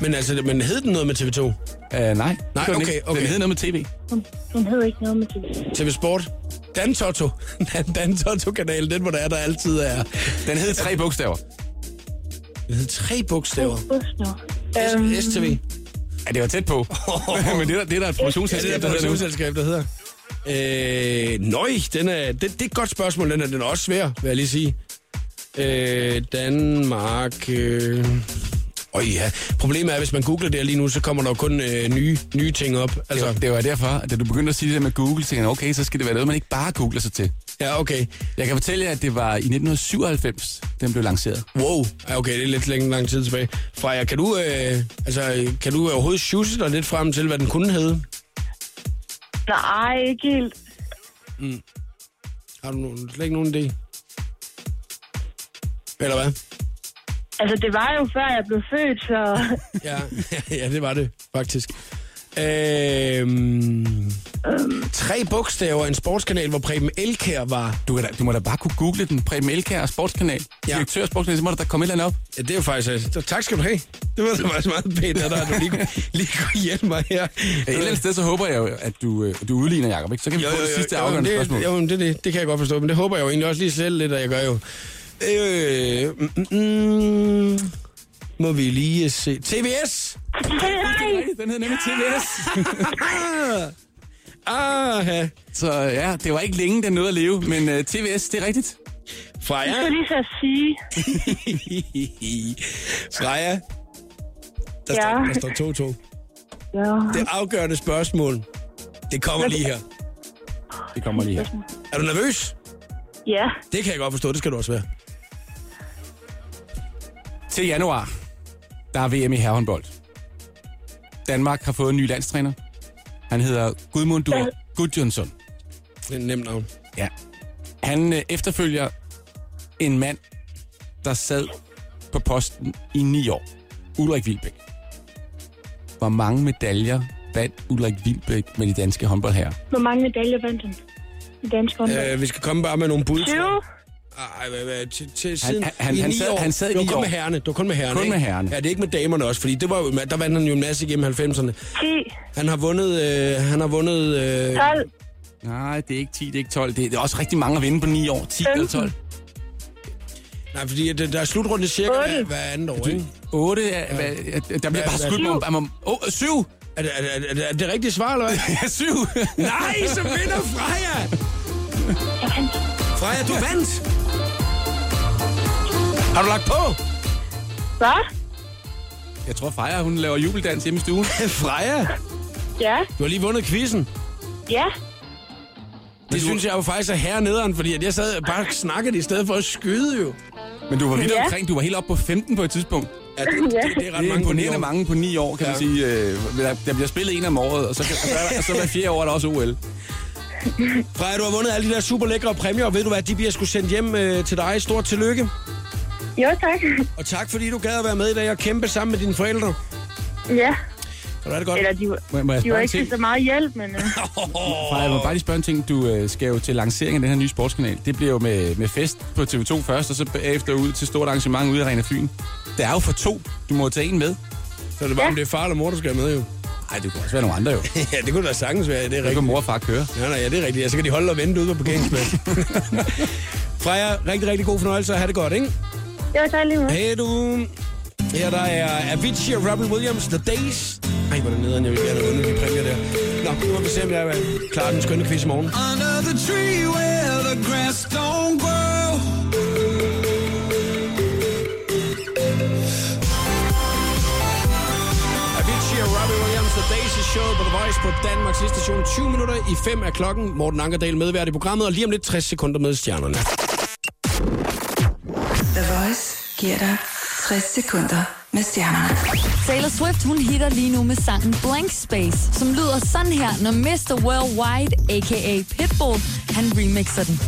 Speaker 1: Men altså, men hed den noget med TV2?
Speaker 2: Uh, nej, nej det gjorde den
Speaker 1: okay,
Speaker 2: ikke.
Speaker 1: okay.
Speaker 2: Den hed noget med tv.
Speaker 11: Hun, hun hed ikke noget med det.
Speaker 1: TV Sport? Dan Toto. Dan Toto-kanalen, den hvor der er, der altid er.
Speaker 2: Den hed tre bogstaver.
Speaker 1: Den hed tre bogstaver. Øhm.
Speaker 11: Husk nu.
Speaker 1: S- STV.
Speaker 2: Ja, det var tæt på. Men det er, der- det er der
Speaker 1: Ja,
Speaker 2: et produktionsselskab,
Speaker 1: det
Speaker 2: der
Speaker 1: er et
Speaker 2: hedder nu.
Speaker 1: produktionsselskab, der hedder. Øh, nøj, den er, det, det er et godt spørgsmål. Den er, den er også svær, vil jeg lige sige. Øh, Danmark... Øh... Oh, ja. Problemet er, hvis man googler det her lige nu, så kommer der jo kun øh, nye, nye ting op. Altså,
Speaker 2: Det var derfor, at da du begyndte at sige det der med Google, tænkte jeg, okay, så skal det være noget, man ikke bare googler sig til.
Speaker 1: ja, okay.
Speaker 2: Jeg kan fortælle jer, at det var i 1997, den blev lanceret.
Speaker 1: Wow, Ja, okay, det er lidt længe, lang tid tilbage. Freja, kan du, øh, altså, kan du overhovedet sjusse dig lidt frem til, hvad den kunne hedde?
Speaker 11: Nej, ikke helt.
Speaker 1: Har du no- slet ikke nogen idé? Eller hvad?
Speaker 11: Altså, det var jo før jeg blev født, så...
Speaker 1: Ja, ja det var det faktisk. Øhm, tre bogstaver, en sportskanal, hvor Preben Elkær var.
Speaker 2: Du, kan da, du må da bare kunne google den. Preben Elkær og Sportskanal.
Speaker 1: Ja.
Speaker 2: Ja. Direktør af Sportskanal, så må der da komme et eller andet op.
Speaker 1: Ja, det er jo faktisk... Så, tak skal du have. Det var da faktisk meget pænt, at der, at du lige, kunne- lige kunne hjælpe mig her.
Speaker 2: Et eller andet sted, så håber jeg jo, at du, øh, du udligner, Jacob. Ikke? Så kan vi få det sidste afgørende
Speaker 1: det,
Speaker 2: spørgsmål.
Speaker 1: Jo, men det, det, det kan jeg godt forstå, men det håber jeg jo egentlig også lige selv lidt, at jeg gør jo. Øh, mm, mm, må vi lige se. TVS!
Speaker 11: Nej!
Speaker 2: Nej, den hed nemlig TVS.
Speaker 1: Ah, ja.
Speaker 2: Så ja, det var ikke længe, den nåede at leve. Men øh, TVS, det er rigtigt.
Speaker 11: Jeg
Speaker 1: Freja.
Speaker 11: skulle lige så sige...
Speaker 1: Freja. Der,
Speaker 11: Ja.
Speaker 1: står, der står 2-2.
Speaker 11: Ja.
Speaker 1: Det afgørende spørgsmål, det kommer lige her.
Speaker 2: Det kommer lige her.
Speaker 1: Er du nervøs?
Speaker 11: ja.
Speaker 1: Det kan jeg godt forstå, det skal du også være.
Speaker 2: Til januar, der er VM i herrehåndbold. Danmark har fået en ny landstræner. Han hedder Gudmundur Gudjonsson.
Speaker 1: Det er et nemt navn.
Speaker 2: Ja. Han øh, efterfølger en mand, der sad på posten i ni år. Ulrik Vilbæk. Hvor mange medaljer vandt Ulrik Vilbæk med de danske håndboldherrer?
Speaker 11: Hvor mange medaljer vandt han? I dansk håndbold?
Speaker 1: Øh, vi skal komme bare med nogle bud.
Speaker 11: 20?
Speaker 1: Ej, hvad, hvad, til, til siden,
Speaker 2: han- han-
Speaker 1: i
Speaker 2: han
Speaker 1: ni
Speaker 2: sad-
Speaker 1: år.
Speaker 2: han sad i
Speaker 1: det var
Speaker 2: ni
Speaker 1: kun
Speaker 2: år.
Speaker 1: med herrene. Det var kun med herrene,
Speaker 2: Kun
Speaker 1: ikke?
Speaker 2: med herrerne.
Speaker 1: Ja, det er ikke med damerne også, fordi det var, jo- der vandt han jo en masse igennem 90'erne.
Speaker 11: 10?
Speaker 1: Han har vundet... Øh, han har vundet øh,
Speaker 11: 12?
Speaker 2: Nej, det er ikke 10, det er ikke 12. Det er, det er også rigtig mange at vinde på ni år. 10 eller 12.
Speaker 1: nej, fordi det, der er slutrunde cirka
Speaker 11: Otte.
Speaker 1: hver, hver andet år, ikke?
Speaker 2: 8 er, hvad- er- der bliver bare
Speaker 1: hvad-
Speaker 2: skudt med... om- om- Åh, 7!
Speaker 1: Er, det- er, det- er, det- er det rigtigt svar, eller hvad?
Speaker 2: Ja, 7!
Speaker 1: Nej, så vinder Freja! Freja, du vandt! Har du lagt på?
Speaker 11: Hvad?
Speaker 2: Jeg tror, Freja, hun laver jubeldans hjemme i stuen.
Speaker 1: Freja,
Speaker 11: Ja?
Speaker 1: du har lige vundet quizzen.
Speaker 11: Ja?
Speaker 1: Det synes jeg jo faktisk er hernederen, fordi at jeg sad og bare snakkede i stedet for at skyde jo.
Speaker 2: Men du var vidt
Speaker 11: Ja.
Speaker 2: omkring. Du var helt oppe på 15 på et tidspunkt.
Speaker 1: Ja, det, det, det er ret mange
Speaker 2: Det er
Speaker 1: på ni
Speaker 2: imponerende
Speaker 1: år.
Speaker 2: mange på ni år, kan
Speaker 1: Ja.
Speaker 2: man sige. Øh, der, der bliver spillet en om året, og så, kan, og så, og så hver fjerde år er der også OL.
Speaker 1: Freja, du har vundet alle de der super lækre præmier, og ved du hvad, de bliver skulle sendt hjem øh, til dig. Stort tillykke.
Speaker 11: Jo, tak.
Speaker 1: Og tak fordi du gad at være med i dag og kæmpe sammen med dine forældre.
Speaker 11: Ja.
Speaker 1: Kan du have det godt?
Speaker 11: Eller de,
Speaker 2: Må, må jeg
Speaker 11: de var
Speaker 2: spørge en
Speaker 11: ikke til
Speaker 2: ting?
Speaker 11: så meget hjælp, men... øh,
Speaker 2: Freja, jeg må bare lige spørge en ting. Du øh, skal jo til lanceringen af den her nye sportskanal. Det bliver jo med, med fest på TV2 først, og så bagefter ud til stort arrangement ude i Arena Fyn. Der er jo for to. Du må tage en med.
Speaker 1: Så er det bare, om det er far eller mor, du skal have med jo.
Speaker 2: Nej, det kunne også være nogle andre jo.
Speaker 1: ja, det kunne da sagtens være, det er
Speaker 2: Så kan
Speaker 1: rigtigt.
Speaker 2: mor og far køre.
Speaker 1: Ja, nej, ja, det er rigtigt. Ja, så kan de holde og vente ude på parkeringspladsen. Freja, rigtig, rigtig god fornøjelse og have det godt, ikke?
Speaker 11: Jo, tak lige meget.
Speaker 1: Hey du. Her der er Avicii og Robin Williams, The Days. Ej, hvor er det nederen, jeg vil gerne have vundet de præmier der. Nå, nu må vi se, om jeg er klar den skønne quiz i morgen.
Speaker 5: Under the tree where the grass don't grow.
Speaker 1: Avicii og Robbie Williams, The Days is Show på The Voice på Danmarks station. 20 minutter i 5 er klokken. Morten Ankerdal medvært i programmet, og lige om lidt 60 sekunder med stjernerne.
Speaker 10: giver dig 60 sekunder med stjernerne.
Speaker 4: Taylor Swift, hun hitter lige nu med sangen Blank Space, som lyder sådan her, når Mr. Worldwide, a.k.a. Pitbull, han remixer den.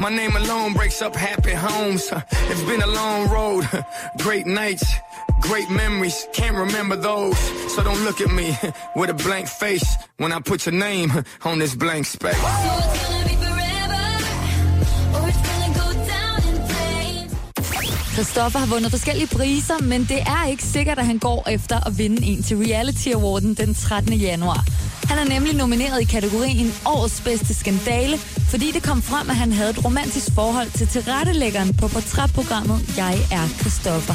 Speaker 6: My name alone breaks up happy homes. Huh. It's been a long road, huh. great nights, great memories. Can't remember those, so don't look at me huh, with a blank face when I put your name huh, on this blank space.
Speaker 12: Oh,
Speaker 4: Christoffer har vundet forskellige priser, men det er ikke sikkert, at han går efter at vinde en til Reality Awarden den 13. januar. Han er nemlig nomineret i kategorien Årets bedste skandale, fordi det kom frem, at han havde et romantisk forhold til tilrettelæggeren på portrætprogrammet Jeg er Christoffer.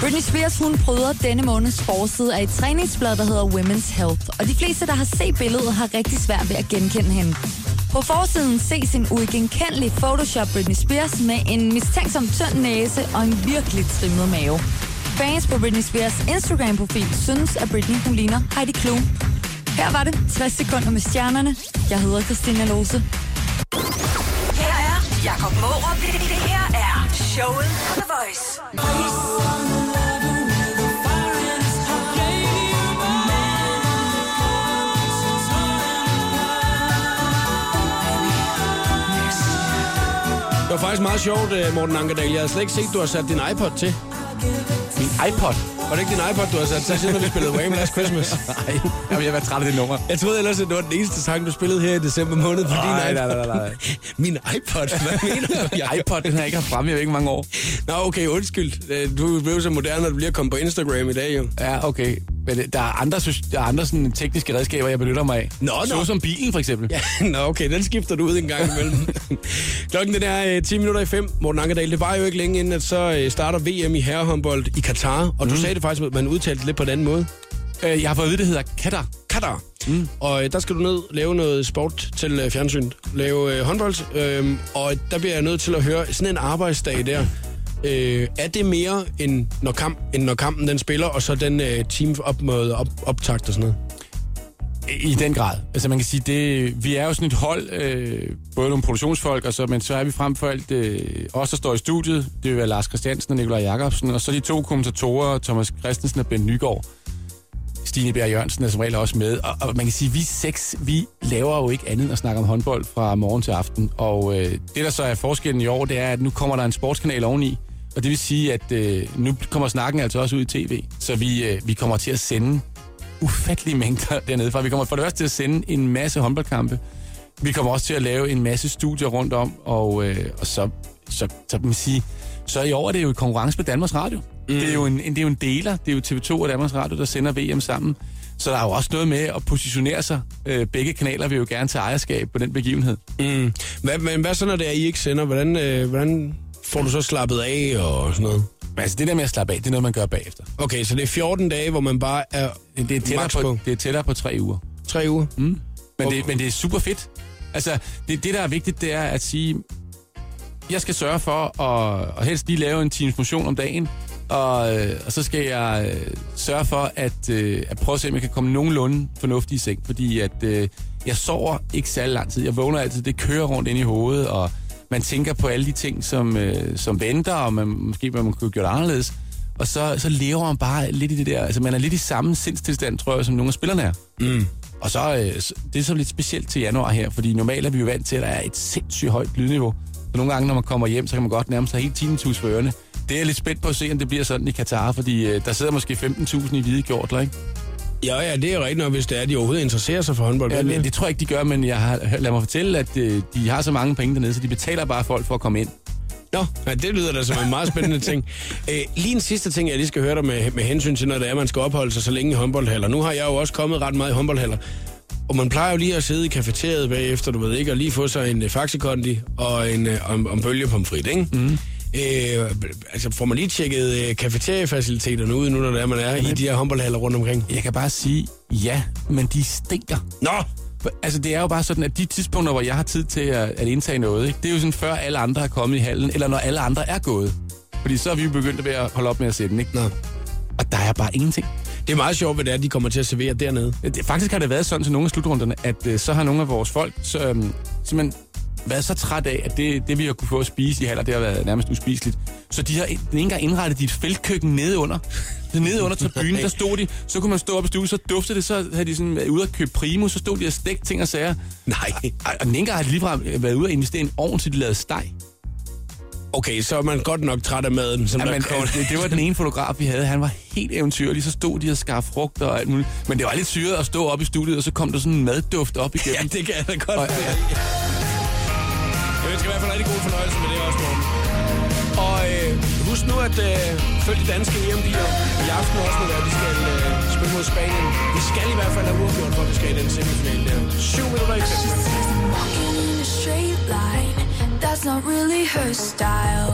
Speaker 4: Britney Spears, hun pryder denne måneds forside af et træningsblad, der hedder Women's Health. Og de fleste, der har set billedet, har rigtig svært ved at genkende hende. På forsiden ses en uigenkendelig Photoshop Britney Spears med en mistænksom tynd næse og en virkelig trimmet mave. Fans på Britney Spears Instagram-profil synes, at Britney hun ligner Heidi Klum. Her var det 60 sekunder med stjernerne. Jeg hedder Christina Lose.
Speaker 3: Her er Jakob Morup. Det, det her er showet på The Voice.
Speaker 1: Det var faktisk meget sjovt, øh, Morten Ankerdal. Jeg havde slet ikke set, du har sat din iPod til.
Speaker 2: Min iPod?
Speaker 1: Var det ikke din iPod, du har sat til, siden vi spillede Wham Last Christmas?
Speaker 2: Nej, jeg var træt af det nummer.
Speaker 1: Jeg troede ellers, at det var den eneste sang, du spillede her i december måned på din
Speaker 2: Nej,
Speaker 1: iPod.
Speaker 2: nej, nej, nej.
Speaker 1: Min iPod? Hvad mener du? Jeg...
Speaker 2: iPod, den har jeg ikke haft fremme i jeg ved ikke mange år.
Speaker 1: Nå, okay, undskyld. Øh, Du blev så moderne, at du lige er kommet på Instagram i dag, jo.
Speaker 2: Ja, okay. Men øh, der er andre, sys- der er andre sådan, tekniske redskaber, jeg benytter mig af.
Speaker 1: Nå,
Speaker 2: Så
Speaker 1: nå.
Speaker 2: som bilen, for eksempel.
Speaker 1: Ja, nå okay, den skifter du ud en gang imellem. Klokken den er øh, 10 minutter i 5. Morten Ankerdal, det var jo ikke længe inden, at så øh, starter VM i herrehåndbold i Katar. Og mm. du sagde det faktisk, at man udtalte det lidt på en anden måde.
Speaker 2: Øh, Jeg har fået at vide, det hedder Katar.
Speaker 1: Katar. Mm. Og øh, der skal du ned lave noget sport til øh, fjernsynet. Lave øh, håndbold. Øh, og der bliver jeg nødt til at høre sådan en arbejdsdag der. Øh, er det mere, end når, kamp, end når kampen den spiller, og så den øh, team op mod op, optakt og sådan noget?
Speaker 2: I den grad. Altså man kan sige, det, vi er jo sådan et hold, øh, både nogle produktionsfolk, og så, men så er vi frem for alt øh, os, der står i studiet. Det vil være Lars Christiansen og Nikolaj Jacobsen, og så de to kommentatorer, Thomas Christensen og Bent Nygaard. Stine Bjerg Jørgensen er som regel også med. Og, og man kan sige, vi seks, vi laver jo ikke andet end at snakke om håndbold fra morgen til aften. Og øh, det, der så er forskellen i år, det er, at nu kommer der en sportskanal oveni. Og det vil sige, at øh, nu kommer snakken altså også ud i tv. Så vi, øh, vi kommer til at sende ufattelige mængder dernede fra. Vi kommer for det første til at sende en masse håndboldkampe. Vi kommer også til at lave en masse studier rundt om, og, øh, og så, så, så, man sige, så i år er det jo i konkurrence med Danmarks Radio. Mm. Det, er jo en, en, det er jo en deler. Det er jo TV2 og Danmarks Radio, der sender VM sammen. Så der er jo også noget med at positionere sig. Øh, begge kanaler vil jo gerne tage ejerskab på den begivenhed.
Speaker 1: Mm. Hvad, men hvad så, når det er, I ikke sender? Hvordan, øh, hvordan får du så slappet af og sådan noget?
Speaker 2: Men altså det der med at slappe af, det er noget, man gør bagefter.
Speaker 1: Okay, så det er 14 dage, hvor man bare er
Speaker 2: Det, det, er,
Speaker 1: Max
Speaker 2: tættere
Speaker 1: på.
Speaker 2: på, det er tættere på tre uger.
Speaker 1: tre uger. Mm.
Speaker 2: Men det, men det er super fedt. Altså, det, det der er vigtigt, det er at sige, jeg skal sørge for at, at helst lige lave en times motion om dagen, og, øh, og så skal jeg øh, sørge for at, øh, at prøve at se, om jeg kan komme nogenlunde fornuftig i seng, fordi at øh, jeg sover ikke særlig lang tid. Jeg vågner altid, det kører rundt ind i hovedet, og man tænker på alle de ting, som, øh, som venter, og man, måske hvad man kunne have gjort anderledes. Og så, så lever man bare lidt i det der, altså man er lidt i samme sindstilstand, tror jeg, som nogle af spillerne er. Og så, øh, så- det er så lidt specielt til januar her, fordi normalt er vi jo vant til, at der er et sindssygt højt lydniveau. Så nogle gange, når man kommer hjem, så kan man godt nærmest have helt tinnitus for ørerne. Det er jeg lidt spændt på at se, om det bliver sådan i Katar, fordi øh, der sidder måske 15.000 i hvide kjortler, ikke?
Speaker 1: Ja, ja, det er rigtigt nok, hvis det er, at de overhovedet interesserer sig for håndbold.
Speaker 2: Ja,
Speaker 1: vel?
Speaker 2: men det tror jeg ikke, de gør, men jeg har, hør- lad mig fortælle, at øh, de har så mange penge dernede, så de betaler bare folk for at komme ind.
Speaker 1: Nå, ja, det lyder da som en meget spændende ting. Æ, lige en sidste ting, jeg lige skal høre dig med, med hensyn til, når det er, man skal opholde sig så længe i håndboldhaller. Nu har jeg jo også kommet ret meget i håndboldhaller. Og man plejer jo lige at sidde i kafeteriet bagefter, du ved ikke, og lige få sig en øh, faxekondi og en øh, om, om bølge pomfrit, ikke?
Speaker 2: Mhm.
Speaker 1: Mm. Øh, altså får man lige tjekket øh, kafeteriefaciliteterne ud, nu når det er, man er i de her håndboldhaller rundt omkring?
Speaker 2: Jeg kan bare sige, ja, men de stinker.
Speaker 1: Nå!
Speaker 2: Altså, det er jo bare sådan, at de tidspunkter, hvor jeg har tid til at, at indtage noget, ikke? det er jo sådan før alle andre er kommet i hallen, eller når alle andre er gået. Fordi så er vi jo begyndt at, være at holde op med at sætte den, ikke?
Speaker 1: Nå.
Speaker 2: Og der er bare ingenting.
Speaker 1: Det er meget sjovt, hvad det er, de kommer til at servere dernede.
Speaker 2: Det, faktisk har det været sådan til nogle af slutrunderne, at øh, så har nogle af vores folk så, øhm, simpelthen været så træt af, at det, det vi har kunne få at spise i haller, det har været nærmest uspiseligt. Så de har ikke engang indrettet dit feltkøkken nede under. Så nede under tribunen, der stod de, så kunne man stå op i stue, så duftede det, så havde de sådan været ude at købe primus, så stod de og stegte ting og sager.
Speaker 1: Nej.
Speaker 2: Og, og den ene gang har de ligefrem øh, været ude at investere i en ovn, til de lavede steg.
Speaker 1: Okay, så er man godt nok træt af maden, som
Speaker 2: Ja,
Speaker 1: ja,
Speaker 2: men, øh,
Speaker 1: der kommer.
Speaker 2: det, det var den ene fotograf, vi havde. Han var helt eventyrlig. Så stod de og skar frugter og alt muligt. Men det var lidt syret at stå op i studiet, og så kom der sådan en madduft op igennem.
Speaker 1: Ja, det kan jeg da godt.
Speaker 2: Og, ja.
Speaker 1: Jeg ønsker i hvert fald rigtig god fornøjelse med det også, Morten. Og øh, husk nu at øh, følge de danske hjempiger i aften også, når vi skal øh, spille mod Spanien. Vi skal i hvert fald have uafgjort, for at vi skal i den semifinale der. Syv minutter i
Speaker 12: Walking in a straight line, that's not really her style.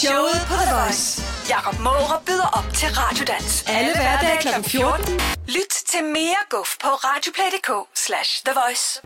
Speaker 3: Showet på The Voice. Jakob Måre byder op til Radiodans.
Speaker 12: Alle hverdage kl.
Speaker 3: 14. Lyt til mere guf på radioplay.dk slash The Voice.